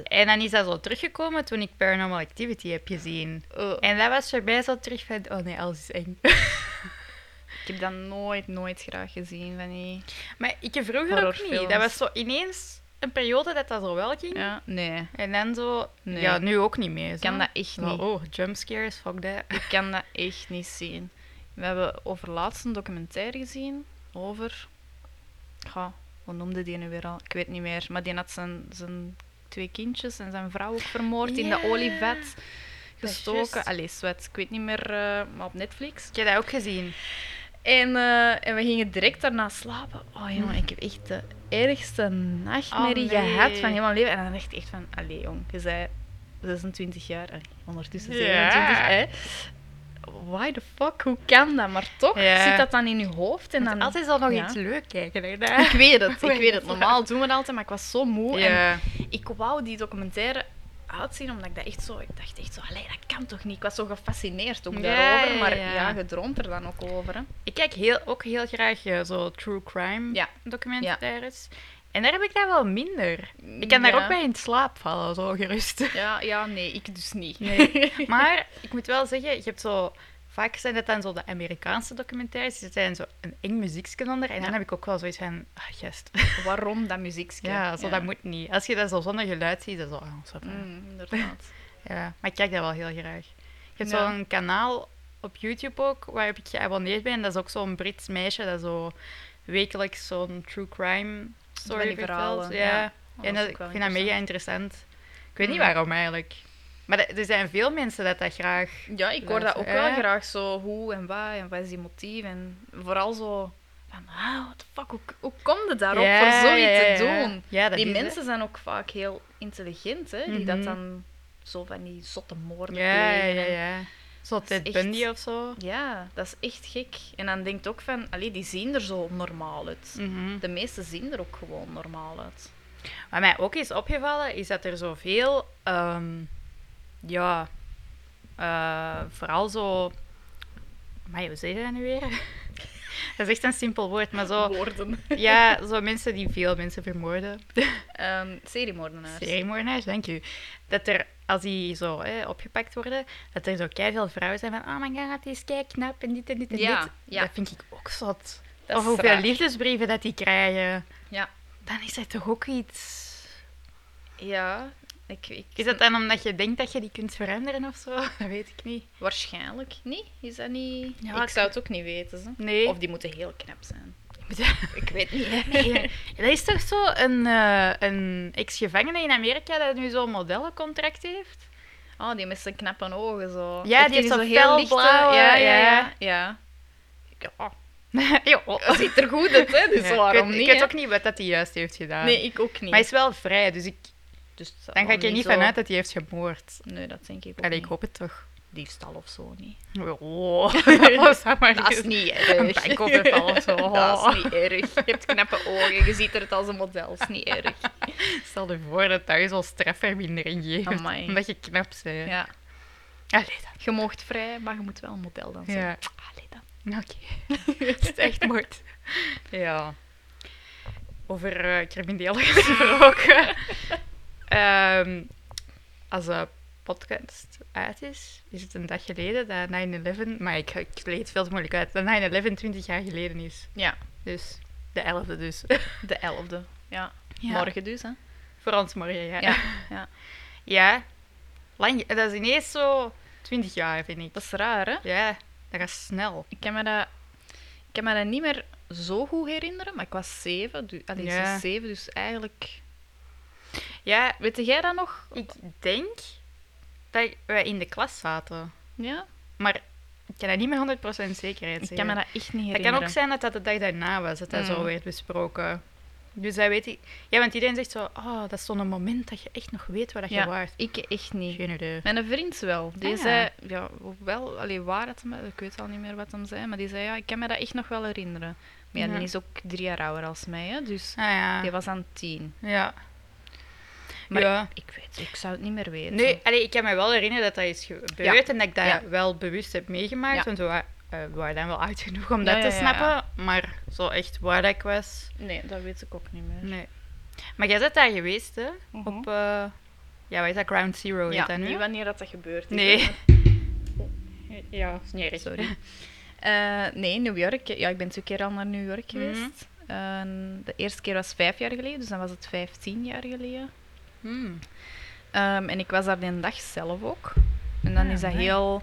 [SPEAKER 3] En dan is dat zo teruggekomen toen ik Paranormal Activity heb gezien.
[SPEAKER 2] Eh,
[SPEAKER 3] En dat was erbij zo terug van... Oh nee, alles is eng.
[SPEAKER 2] Ik heb dat nooit, nooit graag gezien. Van die...
[SPEAKER 3] Maar ik heb vroeger ook niet.
[SPEAKER 2] Horrorfilms.
[SPEAKER 3] Dat was zo ineens een periode dat dat zo wel ging.
[SPEAKER 2] Ja, nee.
[SPEAKER 3] En dan zo...
[SPEAKER 2] Nee.
[SPEAKER 3] Ja, nu ook niet meer.
[SPEAKER 2] Ik kan dat echt niet.
[SPEAKER 3] Oh, jumpscares, fuck dat.
[SPEAKER 2] Ik kan dat echt niet zien. We hebben overlaatst een documentaire gezien over... Ja, hoe noemde die nu weer al? Ik weet niet meer. Maar die had zijn, zijn twee kindjes en zijn vrouw ook vermoord in
[SPEAKER 3] Ja.
[SPEAKER 2] de olievet
[SPEAKER 3] Dat is
[SPEAKER 2] gestoken.
[SPEAKER 3] juist.
[SPEAKER 2] Allee, zwet. Ik weet niet meer, eh, maar op Netflix.
[SPEAKER 3] Ik heb dat ook gezien.
[SPEAKER 2] En, eh, en we gingen direct daarna slapen. Oh jongen, ik heb echt de ergste nachtmerrie
[SPEAKER 3] Oh, nee.
[SPEAKER 2] gehad van heel mijn leven. En dan dacht ik echt van, allee jong, je bent 26 jaar, eh, ondertussen
[SPEAKER 3] Ja.
[SPEAKER 2] 27, hè. Why the fuck, hoe kan dat? Maar toch
[SPEAKER 3] Ja.
[SPEAKER 2] zit dat dan in je hoofd. En
[SPEAKER 3] En
[SPEAKER 2] dan...
[SPEAKER 3] altijd zal nog
[SPEAKER 2] ja.
[SPEAKER 3] iets leuk kijken. hè,
[SPEAKER 2] Ik
[SPEAKER 3] daar.
[SPEAKER 2] weet het, ik weet het. Normaal doen we dat altijd, maar ik was zo moe. En
[SPEAKER 3] Ja.
[SPEAKER 2] ik wou die documentaire uitzien, omdat ik dat echt zo... Ik dacht echt zo, allee, dat kan toch niet? Ik was zo gefascineerd ook
[SPEAKER 3] Ja,
[SPEAKER 2] daarover.
[SPEAKER 3] ja,
[SPEAKER 2] Maar
[SPEAKER 3] ja.
[SPEAKER 2] ja, je droomt er dan ook over, hè.
[SPEAKER 3] Ik kijk heel, ook heel graag eh, zo true crime
[SPEAKER 2] Ja.
[SPEAKER 3] documentaires. En daar heb ik daar wel minder. Ik kan daar
[SPEAKER 2] Ja.
[SPEAKER 3] ook bij in slaap vallen, zo gerust.
[SPEAKER 2] Ja, ja, nee, ik dus niet.
[SPEAKER 3] Maar ik moet wel zeggen, je hebt zo... Vaak zijn dat dan zo de Amerikaanse documentaires. Er zijn zo een eng muziekje onder. En dan heb ik ook wel zoiets van... Ah, gest.
[SPEAKER 2] Waarom dat muziekje?
[SPEAKER 3] Ja, zo, dat moet niet. Als je dat zo zonder geluid ziet, dat is wel... ah, zo van,
[SPEAKER 2] Mm, inderdaad.
[SPEAKER 3] Ja, maar ik kijk dat wel heel graag. Je hebt
[SPEAKER 2] Ja.
[SPEAKER 3] zo'n kanaal op YouTube ook, waar ik geabonneerd ben. Dat is ook zo'n Brits meisje dat zo wekelijks zo'n true crime story
[SPEAKER 2] die
[SPEAKER 3] vertelt.
[SPEAKER 2] verhalen,
[SPEAKER 3] Ja.
[SPEAKER 2] ja. Oh,
[SPEAKER 3] en
[SPEAKER 2] dat is
[SPEAKER 3] dat,
[SPEAKER 2] ook
[SPEAKER 3] ik
[SPEAKER 2] wel
[SPEAKER 3] vind dat mega interessant. Ik weet niet
[SPEAKER 2] Mm.
[SPEAKER 3] waarom eigenlijk. Maar dat- er zijn veel mensen dat dat graag...
[SPEAKER 2] Ja, ik hoor dat ook wel
[SPEAKER 3] Ja.
[SPEAKER 2] graag zo hoe en waar en wat is die motief en vooral zo van, ah, what the fuck, hoe, hoe kom je daarop
[SPEAKER 3] Ja,
[SPEAKER 2] voor zoiets
[SPEAKER 3] ja,
[SPEAKER 2] te
[SPEAKER 3] ja.
[SPEAKER 2] doen?
[SPEAKER 3] Ja, dat
[SPEAKER 2] die
[SPEAKER 3] is het.
[SPEAKER 2] mensen zijn ook vaak heel intelligent, hè, die dat
[SPEAKER 3] Mhm.
[SPEAKER 2] dan zo van die zotte moorden
[SPEAKER 3] Ja,
[SPEAKER 2] plegen
[SPEAKER 3] ja,
[SPEAKER 2] en-
[SPEAKER 3] ja. Zo
[SPEAKER 2] is
[SPEAKER 3] Ted
[SPEAKER 2] echt-
[SPEAKER 3] Bundy of zo.
[SPEAKER 2] Ja, dat is echt gek. En dan denkt ook van, allee, die zien er zo normaal uit.
[SPEAKER 3] Mhm.
[SPEAKER 2] De meeste zien er ook gewoon normaal uit.
[SPEAKER 3] Wat mij ook is opgevallen, is dat er zoveel, ehm ja, eh, vooral zo. Maar hoe zeg je dat nu weer? dat is echt een simpel woord, maar zo.
[SPEAKER 2] Woorden.
[SPEAKER 3] Ja, zo mensen die veel mensen vermoorden.
[SPEAKER 2] Ehm seriemoordenaars.
[SPEAKER 3] Seriemoordenaars, dank u. Dat er, als die zo hè, opgepakt worden, dat er zo veel vrouwen zijn van. Oh my god, die is kei knap en dit en dit en
[SPEAKER 2] Ja,
[SPEAKER 3] dit.
[SPEAKER 2] ja.
[SPEAKER 3] Dat vind ik ook zot.
[SPEAKER 2] Dat
[SPEAKER 3] of
[SPEAKER 2] is
[SPEAKER 3] hoeveel
[SPEAKER 2] raar.
[SPEAKER 3] liefdesbrieven dat die krijgen.
[SPEAKER 2] Ja.
[SPEAKER 3] Dan is dat toch ook iets.
[SPEAKER 2] Ja, ik, ik,
[SPEAKER 3] Is dat dan omdat je denkt dat je die kunt veranderen of zo? Dat weet ik niet.
[SPEAKER 2] waarschijnlijk niet. Is dat niet...
[SPEAKER 3] Ja,
[SPEAKER 2] ik,
[SPEAKER 3] ik-
[SPEAKER 2] zou het ook niet weten. Ze.
[SPEAKER 3] Nee.
[SPEAKER 2] Of die moeten heel knap zijn. Ik weet niet. Hè.
[SPEAKER 3] dat is toch zo een, eh, een ex-gevangene in Amerika dat nu zo'n modellencontract heeft?
[SPEAKER 2] Oh, die met zijn knappe ogen zo.
[SPEAKER 3] Ja, die heeft
[SPEAKER 2] zo
[SPEAKER 3] zo'n felblauwe,
[SPEAKER 2] Ja, ja, ja.
[SPEAKER 3] ja.
[SPEAKER 2] ja. ja.
[SPEAKER 3] ja, oh.
[SPEAKER 2] Dat ziet er goed uit, hè? Dus
[SPEAKER 3] Ja, ik
[SPEAKER 2] waarom
[SPEAKER 3] weet,
[SPEAKER 2] niet?
[SPEAKER 3] Ik weet
[SPEAKER 2] hè?
[SPEAKER 3] ook niet wat dat hij juist heeft gedaan.
[SPEAKER 2] Nee, ik ook niet.
[SPEAKER 3] Maar hij is wel vrij, dus ik,
[SPEAKER 2] Dus het zal
[SPEAKER 3] dan ga
[SPEAKER 2] wel
[SPEAKER 3] ik er Oh, niet
[SPEAKER 2] zo-
[SPEAKER 3] vanuit dat hij heeft gemoord.
[SPEAKER 2] Nee, dat denk ik ook
[SPEAKER 3] Allee, ik
[SPEAKER 2] niet.
[SPEAKER 3] hoop het toch.
[SPEAKER 2] Diefstal of zo niet.
[SPEAKER 3] Oh, dat maar
[SPEAKER 2] Dat is
[SPEAKER 3] eens.
[SPEAKER 2] niet
[SPEAKER 3] Een
[SPEAKER 2] erg.
[SPEAKER 3] bankoverval of zo.
[SPEAKER 2] Dat is niet erg. Je hebt knappe ogen, je ziet eruit als een model. Dat is niet erg.
[SPEAKER 3] Stel je voor dat thuis al strafvermindering geeft.
[SPEAKER 2] Amai.
[SPEAKER 3] Omdat je knap bent.
[SPEAKER 2] Ja.
[SPEAKER 3] Allee dan.
[SPEAKER 2] Je moogt vrij, maar je moet wel een model dan zijn.
[SPEAKER 3] Ja.
[SPEAKER 2] Allee dan.
[SPEAKER 3] Nou, Oké. Het is echt moord. Ja. Over eh criminelen gesproken. Ehm, als de podcast uit is, is het een dag geleden dat 9-11... Maar ik, ik leed het veel te moeilijk uit. Dat 9-11 20 jaar geleden is.
[SPEAKER 2] Ja.
[SPEAKER 3] Dus de 11e dus.
[SPEAKER 2] De elfde. Ja.
[SPEAKER 3] Morgen.
[SPEAKER 2] Morgen dus, hè.
[SPEAKER 3] Voor ons morgen, ja.
[SPEAKER 2] Ja, ja.
[SPEAKER 3] Ja. Lang, ge- dat is ineens zo 20 jaar, vind ik.
[SPEAKER 2] Dat is raar, hè.
[SPEAKER 3] Ja, dat gaat snel.
[SPEAKER 2] Ik kan me dat, ik kan me dat niet meer zo goed herinneren, maar ik was zeven. Dus, allee,
[SPEAKER 3] Ja.
[SPEAKER 2] zes, zeven, dus eigenlijk...
[SPEAKER 3] Ja,
[SPEAKER 2] Weet jij dat nog?
[SPEAKER 3] Ik denk dat wij in de klas zaten.
[SPEAKER 2] Ja?
[SPEAKER 3] Maar ik kan dat niet met 100% zekerheid
[SPEAKER 2] Ik
[SPEAKER 3] zeggen.
[SPEAKER 2] kan me dat echt niet
[SPEAKER 3] dat
[SPEAKER 2] herinneren.
[SPEAKER 3] kan ook zijn dat dat de dag daarna was, dat dat zo
[SPEAKER 2] Mm.
[SPEAKER 3] werd besproken. Dus dat weet ik. Ja, want iedereen zegt zo, oh, dat is zo'n moment dat je echt nog weet waar dat je Ah,
[SPEAKER 2] Ja.
[SPEAKER 3] waart.
[SPEAKER 2] Ik echt niet.
[SPEAKER 3] Geen idee.
[SPEAKER 2] Mijn vriend wel. Die
[SPEAKER 3] Ah, ja.
[SPEAKER 2] zei, ja, wel, allee, waar het hem, ik weet al niet meer wat hem zei, maar die zei, ja, ik kan me dat echt nog wel herinneren. Maar ja,
[SPEAKER 3] Ja.
[SPEAKER 2] die is ook drie jaar ouder als mij, hè, dus
[SPEAKER 3] Ah ja.
[SPEAKER 2] die was aan tien.
[SPEAKER 3] Ja.
[SPEAKER 2] Maar
[SPEAKER 3] ja.
[SPEAKER 2] Ik weet ik zou het niet meer weten.
[SPEAKER 3] Nee, allee, ik kan me wel herinneren dat dat is gebeurd en dat ik dat
[SPEAKER 2] Ja.
[SPEAKER 3] wel bewust heb meegemaakt.
[SPEAKER 2] Ja.
[SPEAKER 3] Want we, wa- eh, we waren dan wel oud genoeg om
[SPEAKER 2] Ja,
[SPEAKER 3] dat
[SPEAKER 2] ja,
[SPEAKER 3] te
[SPEAKER 2] ja, ja.
[SPEAKER 3] snappen. Maar zo echt waar dat ik was,
[SPEAKER 2] Nee, dat weet ik ook niet meer.
[SPEAKER 3] Nee. Maar jij bent daar geweest, hè?
[SPEAKER 2] Mhm.
[SPEAKER 3] Op, eh, ja, wat is dat? Ground Zero, heet
[SPEAKER 2] ja,
[SPEAKER 3] dat nu?
[SPEAKER 2] niet wanneer dat, dat gebeurt. is,
[SPEAKER 3] Nee.
[SPEAKER 2] hè.
[SPEAKER 3] Ja, smerig.
[SPEAKER 2] Sorry. Eh, nee, New York. Ja, ik ben twee keer al naar New York
[SPEAKER 3] Mhm.
[SPEAKER 2] geweest. Eh, de eerste keer was vijf jaar geleden, dus dan was het vijftien jaar geleden.
[SPEAKER 3] Hmm.
[SPEAKER 2] Ehm, en ik was daar die dag zelf ook. En dan
[SPEAKER 3] Ah,
[SPEAKER 2] is dat
[SPEAKER 3] amai.
[SPEAKER 2] heel,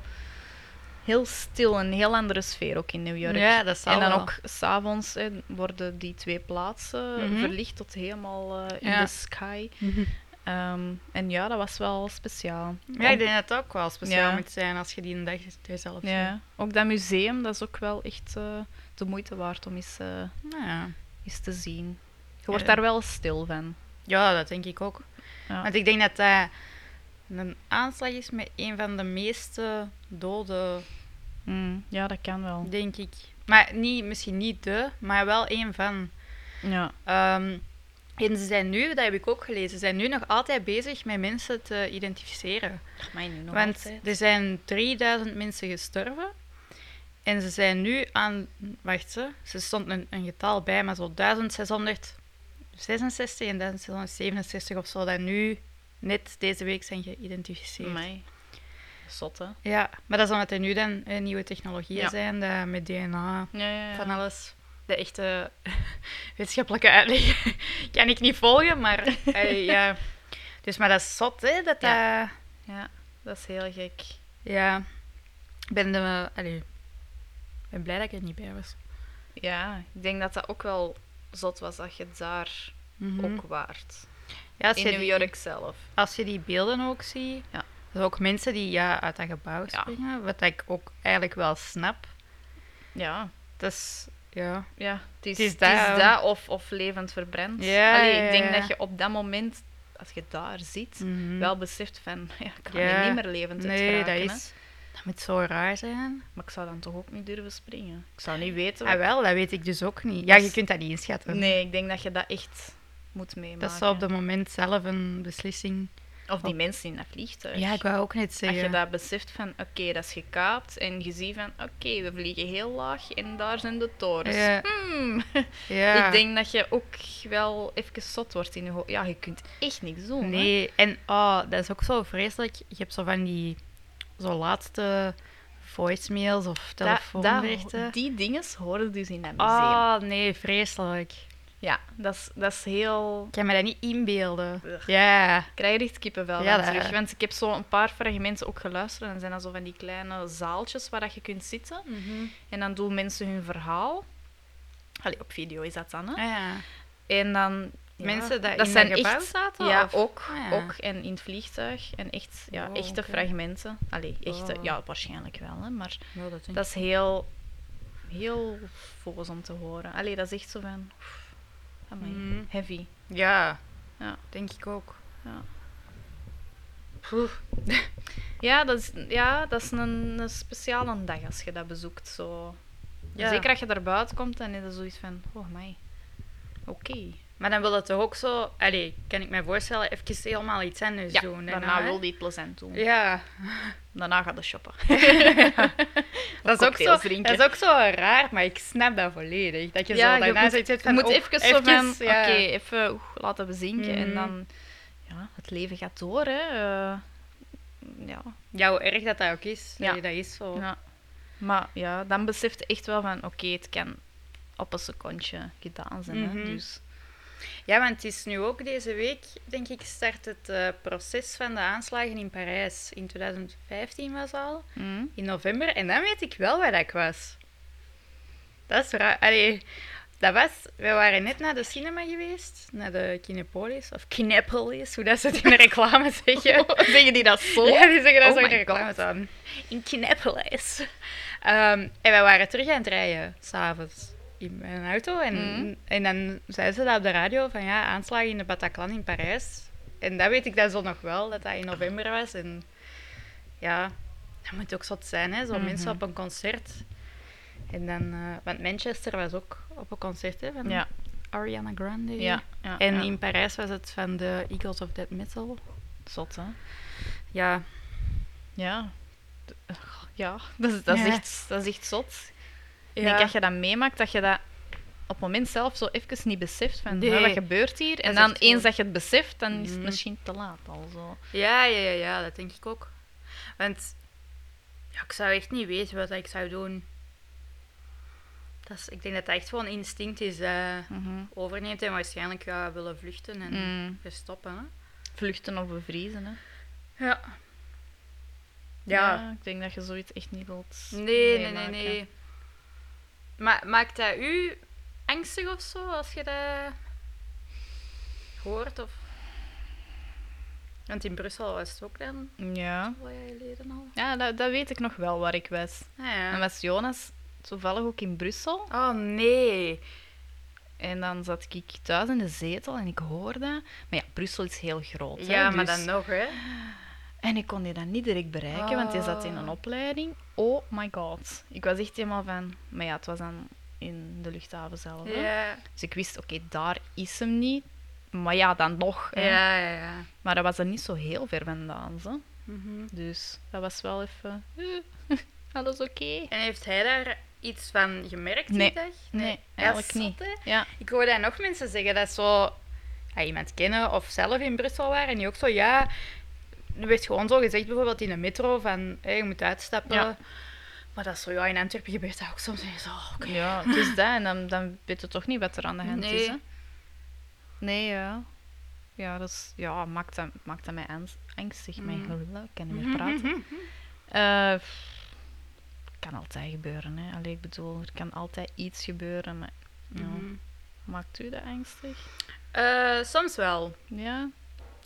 [SPEAKER 2] heel stil, een heel andere sfeer ook in New York.
[SPEAKER 3] Ja, dat zal
[SPEAKER 2] en dan
[SPEAKER 3] wel.
[SPEAKER 2] ook s'avonds worden die twee plaatsen
[SPEAKER 3] Mhm.
[SPEAKER 2] verlicht tot helemaal eh, in
[SPEAKER 3] Ja.
[SPEAKER 2] de sky. Ehm, en ja, dat was wel speciaal.
[SPEAKER 3] Ja, ik denk dat het ook wel speciaal
[SPEAKER 2] Ja.
[SPEAKER 3] moet zijn als je die dag er zelf
[SPEAKER 2] Ook- ja. Ook dat museum, dat is ook wel echt eh, de moeite waard om eens, eh,
[SPEAKER 3] bent. Nou ja.
[SPEAKER 2] eens te zien. Je wordt
[SPEAKER 3] Ja.
[SPEAKER 2] daar wel stil van.
[SPEAKER 3] ja, dat denk ik ook.
[SPEAKER 2] Ja.
[SPEAKER 3] Want ik denk dat dat een aanslag is met een van de meeste doden,
[SPEAKER 2] Mm, ja, dat kan wel.
[SPEAKER 3] denk ik. Maar niet, misschien niet de, maar wel een van.
[SPEAKER 2] Ja.
[SPEAKER 3] Ehm, en ze zijn nu, dat heb ik ook gelezen, ze zijn nu nog altijd bezig met mensen te identificeren.
[SPEAKER 2] Mij nu nog
[SPEAKER 3] Want er zijn 3000 mensen gestorven. En ze zijn nu aan... Wacht, ze, ze stond een, een getal bij, maar zo 1666 en 1667 of zo, dat nu net deze week zijn geïdentificeerd.
[SPEAKER 2] Mij. Zot, hè?
[SPEAKER 3] Ja, maar dat is omdat er nu dan eh, nieuwe technologieën
[SPEAKER 2] Ja.
[SPEAKER 3] zijn, dat met DNA,
[SPEAKER 2] Ja, ja, ja.
[SPEAKER 3] van alles. De echte wetenschappelijke uitleg kan ik niet volgen, maar eh, ja. Dus, maar dat is zot, hè, dat
[SPEAKER 2] Ja.
[SPEAKER 3] dat...
[SPEAKER 2] Ja, dat is heel gek.
[SPEAKER 3] Ja, ik ben, de, allee, ik ben blij dat ik er niet bij was.
[SPEAKER 2] Ja, ik denk dat dat ook wel zot was dat je het daar ook waard.
[SPEAKER 3] ja, als,
[SPEAKER 2] In
[SPEAKER 3] Mhm. je
[SPEAKER 2] New
[SPEAKER 3] die,
[SPEAKER 2] York zelf.
[SPEAKER 3] als je die beelden ook ziet,
[SPEAKER 2] Ja.
[SPEAKER 3] dus ook mensen die ja, uit dat gebouw
[SPEAKER 2] Ja.
[SPEAKER 3] springen, wat ik ook eigenlijk wel snap.
[SPEAKER 2] Ja,
[SPEAKER 3] Dus ja.
[SPEAKER 2] ja. Het is,
[SPEAKER 3] Het is
[SPEAKER 2] het is
[SPEAKER 3] dat.
[SPEAKER 2] dat of, of levend verbrand.
[SPEAKER 3] Ja,
[SPEAKER 2] Allee,
[SPEAKER 3] ja,
[SPEAKER 2] ik denk
[SPEAKER 3] ja. Mhm.
[SPEAKER 2] dat je op dat moment, als je daar zit, wel beseft van, ja, ik kan
[SPEAKER 3] Ja.
[SPEAKER 2] hier niet meer levend uit
[SPEAKER 3] Nee, dat
[SPEAKER 2] Mhm. geraken, hè.
[SPEAKER 3] is. Dat moet zo raar zijn.
[SPEAKER 2] Maar ik zou dan toch ook niet durven springen. Ik zou niet weten.
[SPEAKER 3] Ah,
[SPEAKER 2] wat-
[SPEAKER 3] wel, dat weet ik dus ook niet. Ja, je
[SPEAKER 2] Dus-
[SPEAKER 3] kunt dat niet inschatten.
[SPEAKER 2] Nee, ik denk dat je dat echt moet meemaken.
[SPEAKER 3] Dat is zo op dat moment zelf een beslissing.
[SPEAKER 2] Of die mensen in dat vliegtuig.
[SPEAKER 3] Ja, ik wou ook net
[SPEAKER 2] Dat
[SPEAKER 3] zeggen.
[SPEAKER 2] je dat beseft van, oké, dat is gekaapt. En je ziet van, oké, we vliegen heel laag en daar zijn de torens.
[SPEAKER 3] Ja.
[SPEAKER 2] Hmm.
[SPEAKER 3] Ja.
[SPEAKER 2] Ik denk dat je ook wel even zot wordt in je hoofd. Ja, je kunt echt niks doen. hè.
[SPEAKER 3] Nee, en oh, dat is ook zo vreselijk. Je hebt zo van die zo laatste voicemails of
[SPEAKER 2] Dat-
[SPEAKER 3] telefoonberichten.
[SPEAKER 2] dat- die dingen horen dus in dat museum.
[SPEAKER 3] Oh nee, vreselijk.
[SPEAKER 2] Ja, dat is, dat is heel...
[SPEAKER 3] Ik kan me dat niet inbeelden.
[SPEAKER 2] Ugh.
[SPEAKER 3] Ja.
[SPEAKER 2] Ik krijg er echt
[SPEAKER 3] Ja,
[SPEAKER 2] kippenvel van
[SPEAKER 3] dat-
[SPEAKER 2] terug. Want ik heb zo een paar fragmenten ook geluisterd. En dan zijn dat zo van die kleine zaaltjes waar dat je kunt zitten. En dan doen mensen hun verhaal. Allee, op video is dat dan, hè.
[SPEAKER 3] Ah, ja.
[SPEAKER 2] En dan... ja,
[SPEAKER 3] Mensen die in dat gebouw zaten,
[SPEAKER 2] Ja,
[SPEAKER 3] of?
[SPEAKER 2] ook,
[SPEAKER 3] Ah, ja.
[SPEAKER 2] ook. En in het vliegtuig. En echt, ja,
[SPEAKER 3] Oh,
[SPEAKER 2] echte
[SPEAKER 3] oké.
[SPEAKER 2] fragmenten. Allee, echte...
[SPEAKER 3] Oh.
[SPEAKER 2] Ja, waarschijnlijk wel, hè. Maar
[SPEAKER 3] Nou, dat denk
[SPEAKER 2] dat is heel... Heel foos om te horen. Allee, dat is echt zo van... oef, amai,
[SPEAKER 3] Mhm.
[SPEAKER 2] heavy.
[SPEAKER 3] ik. Ja.
[SPEAKER 2] Ja.
[SPEAKER 3] denk ik ook.
[SPEAKER 2] Ja.
[SPEAKER 3] Poeh.
[SPEAKER 2] Ja, dat is, ja, dat is een, een speciale dag als je dat bezoekt. Zo.
[SPEAKER 3] Ja.
[SPEAKER 2] Zeker als je daar buiten komt en is er zoiets van, oh mij. Oké.
[SPEAKER 3] Maar dan wil dat toch ook zo, allee, kan ik mij voorstellen, even helemaal iets anders
[SPEAKER 2] Ja,
[SPEAKER 3] doen.
[SPEAKER 2] daarna
[SPEAKER 3] hè?
[SPEAKER 2] wil die het plezant doen.
[SPEAKER 3] Ja,
[SPEAKER 2] Daarna gaat de shoppen.
[SPEAKER 3] dat is, ook
[SPEAKER 2] cocktails
[SPEAKER 3] zo,
[SPEAKER 2] drinken.
[SPEAKER 3] dat is ook zo raar, maar ik snap dat volledig. Dat je
[SPEAKER 2] Ja,
[SPEAKER 3] zo
[SPEAKER 2] je
[SPEAKER 3] daarna
[SPEAKER 2] moet-
[SPEAKER 3] zoiets hebt
[SPEAKER 2] Je
[SPEAKER 3] van...
[SPEAKER 2] moet
[SPEAKER 3] oh,
[SPEAKER 2] even zo van, oké,
[SPEAKER 3] ja.
[SPEAKER 2] even oeh, laten bezinken. En
[SPEAKER 3] Mhm.
[SPEAKER 2] dan, ja, het leven gaat door, hè. eh, ja.
[SPEAKER 3] Ja, hoe erg dat dat ook is.
[SPEAKER 2] Ja.
[SPEAKER 3] Nee, dat is zo.
[SPEAKER 2] ja. Maar ja, dan beseft je echt wel van, oké, het kan op een secondje gedaan zijn,
[SPEAKER 3] Mhm.
[SPEAKER 2] hè. Dus,
[SPEAKER 3] Ja, want het is nu ook deze week, denk ik, start het eh, proces van de aanslagen in Parijs. In 2015 was al,
[SPEAKER 2] mhm.
[SPEAKER 3] in november. En dan weet ik wel waar dat ik was. Dat is raar. Allee, dat was... We waren net naar de cinema geweest, naar de Kinepolis, of Kinepolis, hoe dat ze het in de reclame zeggen.
[SPEAKER 2] Zeggen die dat zo?
[SPEAKER 3] Ja, die zeggen dat
[SPEAKER 2] Oh
[SPEAKER 3] zo in de
[SPEAKER 2] my
[SPEAKER 3] reclame
[SPEAKER 2] God.
[SPEAKER 3] staan. In Kinepolis. Ehm, en wij waren terug aan het rijden, s'avonds, in mijn auto. En,
[SPEAKER 2] Mhm.
[SPEAKER 3] en dan zeiden ze dat op de radio, van ja, aanslagen in de Bataclan in Parijs. En dat weet ik dan zo nog wel, dat dat in november was. En ja, dat moet ook zot zijn, hè. Zo
[SPEAKER 2] Mhm.
[SPEAKER 3] mensen op een concert. En dan... eh, want Manchester was ook op een concert, hè, van
[SPEAKER 2] Ja.
[SPEAKER 3] Ariana Grande.
[SPEAKER 2] Ja, ja,
[SPEAKER 3] En
[SPEAKER 2] ja.
[SPEAKER 3] in Parijs was het van de Eagles of Dead Metal.
[SPEAKER 2] Zot, hè.
[SPEAKER 3] Ja,
[SPEAKER 2] Ja. D- Ja, dat is, dat is,
[SPEAKER 3] Ja.
[SPEAKER 2] Echt, dat is echt zot. Ik
[SPEAKER 3] Ja.
[SPEAKER 2] denk dat je dat meemaakt, dat je dat op het moment zelf zo even niet beseft. Van,
[SPEAKER 3] Nee.
[SPEAKER 2] hè, wat gebeurt hier? En
[SPEAKER 3] is
[SPEAKER 2] dan
[SPEAKER 3] echt zo.
[SPEAKER 2] eens dat je het beseft, dan is het
[SPEAKER 3] Mhm.
[SPEAKER 2] misschien te laat al zo.
[SPEAKER 3] Ja, ja, ja, ja, dat denk ik ook. Want ja, ik zou echt niet weten wat ik zou doen. Dat is, ik denk dat dat echt gewoon een instinct is dat overneemt en waarschijnlijk ja, willen vluchten en
[SPEAKER 2] Mm.
[SPEAKER 3] verstoppen. Hè?
[SPEAKER 2] Vluchten of bevriezen, hè.
[SPEAKER 3] Ja. Ja.
[SPEAKER 2] Ik denk dat je zoiets echt niet wilt
[SPEAKER 3] Nee, nee, nee,
[SPEAKER 2] meemaken.
[SPEAKER 3] nee. Maar maakt dat u angstig of zo als je dat hoort? Of... Want in Brussel was het ook dan,
[SPEAKER 2] Ja,
[SPEAKER 3] wat jaar geleden al.
[SPEAKER 2] ja dat, dat weet ik nog wel waar ik was.
[SPEAKER 3] Ah, ja.
[SPEAKER 2] Dan was Jonas toevallig ook in Brussel.
[SPEAKER 3] Oh nee.
[SPEAKER 2] En dan zat ik thuis in de zetel en ik hoorde... Maar ja, Brussel is heel groot, hè,
[SPEAKER 3] Ja, maar
[SPEAKER 2] dus-
[SPEAKER 3] dan nog, hè?
[SPEAKER 2] En ik kon die dan niet direct bereiken, want hij zat in een
[SPEAKER 3] Ah.
[SPEAKER 2] opleiding. Oh my god. Ik was echt helemaal van... Maar ja, het was dan in de luchthaven zelf. hè.
[SPEAKER 3] Ja,
[SPEAKER 2] Dus ik wist, oké, daar is hem niet. Maar ja, dan nog.
[SPEAKER 3] ja,
[SPEAKER 2] hè.
[SPEAKER 3] ja. ja. Mhm.
[SPEAKER 2] Maar dat was dan niet zo heel ver vandaan. Zo. Dus dat was wel even... eh, alles oké?
[SPEAKER 3] En heeft hij daar iets van gemerkt
[SPEAKER 2] Nee.
[SPEAKER 3] die dag?
[SPEAKER 2] Nee,
[SPEAKER 3] Ja,
[SPEAKER 2] eigenlijk
[SPEAKER 3] zot,
[SPEAKER 2] niet.
[SPEAKER 3] hè?
[SPEAKER 2] Ja.
[SPEAKER 3] Ik hoor daar nog mensen zeggen dat zo ja, iemand kennen of zelf in Brussel waren en die ook zo, ja, er werd gewoon zo gezegd bijvoorbeeld in de metro van, hé, je moet uitstappen.
[SPEAKER 2] Ja.
[SPEAKER 3] Maar dat is zo, ja, in Antwerpen gebeurt dat ook soms. En je zo, "Oh, oké.
[SPEAKER 2] Ja, dus dat. En dan, dan weet je toch niet wat er aan de hand is,
[SPEAKER 3] Nee.
[SPEAKER 2] hè? Nee, ja. Ja, dat is, ja, maakt, dat, maakt dat mij ans- angstig. Mijn
[SPEAKER 3] Mhm.
[SPEAKER 2] gelul, ik kan niet meer praten. Eh, pff, kan altijd gebeuren, hè. Allee, ik bedoel, er kan altijd iets gebeuren, maar... ja.
[SPEAKER 3] Mhm.
[SPEAKER 2] Maakt u dat angstig?
[SPEAKER 3] Eh, soms wel.
[SPEAKER 2] Ja?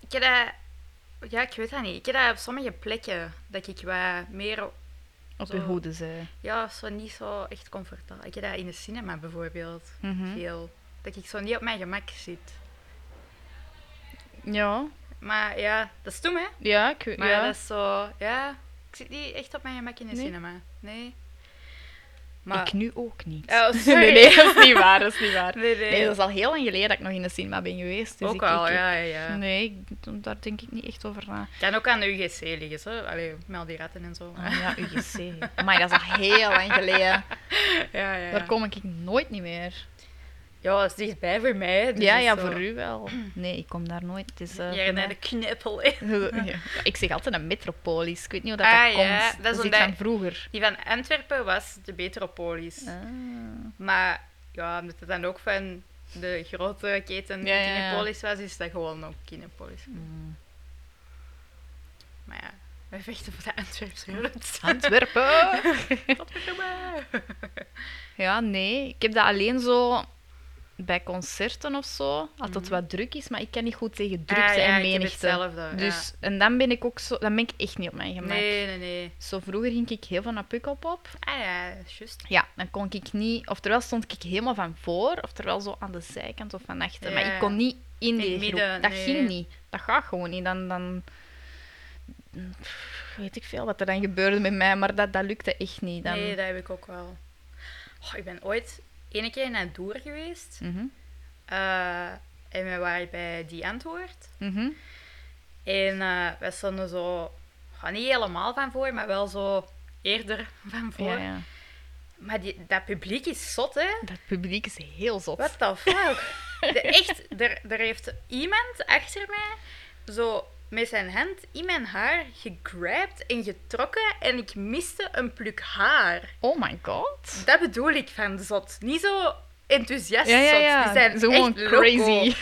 [SPEAKER 3] Ik heb dat... Ja, ik weet dat niet. Ik heb dat op sommige plekken dat ik wat meer...
[SPEAKER 2] Op
[SPEAKER 3] Zo.
[SPEAKER 2] uw hoede zijn.
[SPEAKER 3] Ja, zo niet zo echt comfortabel. Ik heb dat in de cinema bijvoorbeeld
[SPEAKER 2] Mhm.
[SPEAKER 3] veel. Dat ik zo niet op mijn gemak zit.
[SPEAKER 2] Ja.
[SPEAKER 3] Maar ja, dat is stom, hè?
[SPEAKER 2] Ja, ik weet...
[SPEAKER 3] Maar
[SPEAKER 2] Ja.
[SPEAKER 3] dat is zo... Ja, ik zit niet echt op mijn gemak in de
[SPEAKER 2] Nee.
[SPEAKER 3] cinema. Nee. Maar...
[SPEAKER 2] Ik nu ook niet.
[SPEAKER 3] Oh, sorry.
[SPEAKER 2] nee, nee, dat is niet waar, dat is niet waar.
[SPEAKER 3] Nee, nee.
[SPEAKER 2] Nee, dat is al heel lang geleden dat ik nog in de cinema ben geweest. Dus
[SPEAKER 3] ook
[SPEAKER 2] ik,
[SPEAKER 3] al,
[SPEAKER 2] ik-
[SPEAKER 3] ja, ja, ja.
[SPEAKER 2] Nee, ik- daar denk ik niet echt over na.
[SPEAKER 3] Kan ook aan de UGC liggen, zo. Allee, met al die ratten en zo.
[SPEAKER 2] Ah, ja, UGC. Maar dat is al heel lang geleden.
[SPEAKER 3] Ja, ja, ja.
[SPEAKER 2] Daar kom ik nooit niet meer.
[SPEAKER 3] Ja, dat is dichtbij voor mij. hè, dus
[SPEAKER 2] ja,
[SPEAKER 3] dat is
[SPEAKER 2] ja,
[SPEAKER 3] zo.
[SPEAKER 2] voor u wel. Nee, ik kom daar nooit. Het is, eh,
[SPEAKER 3] Ja, naar
[SPEAKER 2] voor mij-
[SPEAKER 3] de knippel, hè.
[SPEAKER 2] Ja, Ik zeg altijd een metropolis. Ik weet niet hoe dat,
[SPEAKER 3] Ah,
[SPEAKER 2] dat komt.
[SPEAKER 3] ja, dat is
[SPEAKER 2] dat is iets
[SPEAKER 3] omdat-
[SPEAKER 2] van vroeger.
[SPEAKER 3] Die van Antwerpen was de betere polis. Maar ja, omdat het dan ook van de grote keten
[SPEAKER 2] Ja, ja, ja.
[SPEAKER 3] Kinepolis was, is dat gewoon ook Kinepolis.
[SPEAKER 2] Hmm.
[SPEAKER 3] Maar ja, wij vechten voor de Antwerpse roots.
[SPEAKER 2] Antwerpen!
[SPEAKER 3] Godverdomme.
[SPEAKER 2] Ja, nee. Ik heb dat alleen zo bij concerten of zo, als het wat druk is, maar ik kan niet goed tegen drukte
[SPEAKER 3] Mhm. Ah, ja,
[SPEAKER 2] en
[SPEAKER 3] ik heb
[SPEAKER 2] menigte.
[SPEAKER 3] hetzelfde, ja.
[SPEAKER 2] dus, En dan ben ik ook zo, dan ben ik echt niet op mijn gemak.
[SPEAKER 3] Nee, nee, nee.
[SPEAKER 2] Zo vroeger ging ik heel van naar Pukkelpop.
[SPEAKER 3] Ah ja, dat is juist.
[SPEAKER 2] Ja, dan kon ik niet, oftewel stond ik helemaal van voor, oftewel zo aan de zijkant of van achter. Maar
[SPEAKER 3] Ja.
[SPEAKER 2] ik kon niet in
[SPEAKER 3] het
[SPEAKER 2] die groep.
[SPEAKER 3] midden,
[SPEAKER 2] Dat
[SPEAKER 3] nee.
[SPEAKER 2] ging niet. Dat gaat gewoon niet. Dan, dan pff, weet ik veel wat er dan gebeurde met mij, maar dat, dat lukte echt niet. Dan...
[SPEAKER 3] Nee, dat heb ik ook wel. Oh, ik ben ooit ene keer naar Doer geweest.
[SPEAKER 2] Mhm.
[SPEAKER 3] Eh, En wij waren bij die antwoord.
[SPEAKER 2] Mhm.
[SPEAKER 3] En eh wij stonden zo, ja, niet helemaal van voor, maar wel zo eerder van voor.
[SPEAKER 2] Ja, ja.
[SPEAKER 3] Maar die, dat publiek is zot, hè?
[SPEAKER 2] Dat publiek is heel zot.
[SPEAKER 3] What the fuck? De, echt, er, er heeft iemand achter mij zo met zijn hand in mijn haar gegrapt en getrokken en ik miste een pluk haar.
[SPEAKER 2] Oh my god.
[SPEAKER 3] Dat bedoel ik van zot. Niet zo enthousiast
[SPEAKER 2] Ja, ja,
[SPEAKER 3] zot.
[SPEAKER 2] ja.
[SPEAKER 3] Die zijn
[SPEAKER 2] Zo gewoon
[SPEAKER 3] echt loco.
[SPEAKER 2] crazy.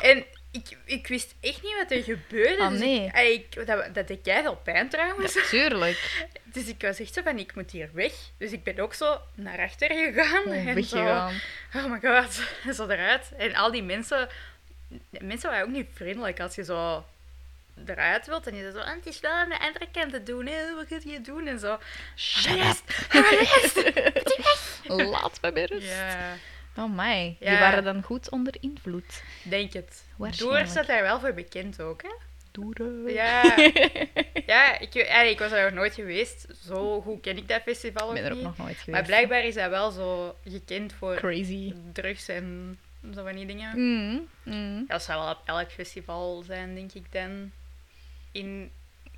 [SPEAKER 3] En ik, ik wist echt niet wat er gebeurde.
[SPEAKER 2] Ah,
[SPEAKER 3] dus
[SPEAKER 2] nee.
[SPEAKER 3] ik, ah, ik- dat, dat deed jij veel pijn trouwens.
[SPEAKER 2] Tuurlijk.
[SPEAKER 3] Dus ik was echt zo van, ik moet hier weg. Dus ik ben ook zo naar achter gegaan. en zo,
[SPEAKER 2] Weggegaan.
[SPEAKER 3] oh my god, zo eruit. En al die mensen, mensen waren ook niet vriendelijk als je zo eruit wilt. En je zegt zo, "Ah, het is wel aan de andere kant te doen, hè. wat kun je doen? En zo,
[SPEAKER 2] Shut up.
[SPEAKER 3] "Arrest, arrest."
[SPEAKER 2] Laat me met rust.
[SPEAKER 3] Ja,
[SPEAKER 2] Oh my. Die
[SPEAKER 3] Ja.
[SPEAKER 2] waren dan goed onder invloed.
[SPEAKER 3] denk het.
[SPEAKER 2] Waarschijnlijk.
[SPEAKER 3] Door staat daar wel voor bekend ook, hè.
[SPEAKER 2] Doere.
[SPEAKER 3] Ja, ja ik, allee, ik was daar nog nooit geweest. Zo goed ken ik dat festival ook
[SPEAKER 2] Ik ben er ook
[SPEAKER 3] niet.
[SPEAKER 2] nog nooit geweest.
[SPEAKER 3] Maar blijkbaar is dat wel zo gekend voor
[SPEAKER 2] Crazy.
[SPEAKER 3] drugs en zo van die dingen.
[SPEAKER 2] Mm, mm.
[SPEAKER 3] Dat zou wel op elk festival zijn, denk ik dan. In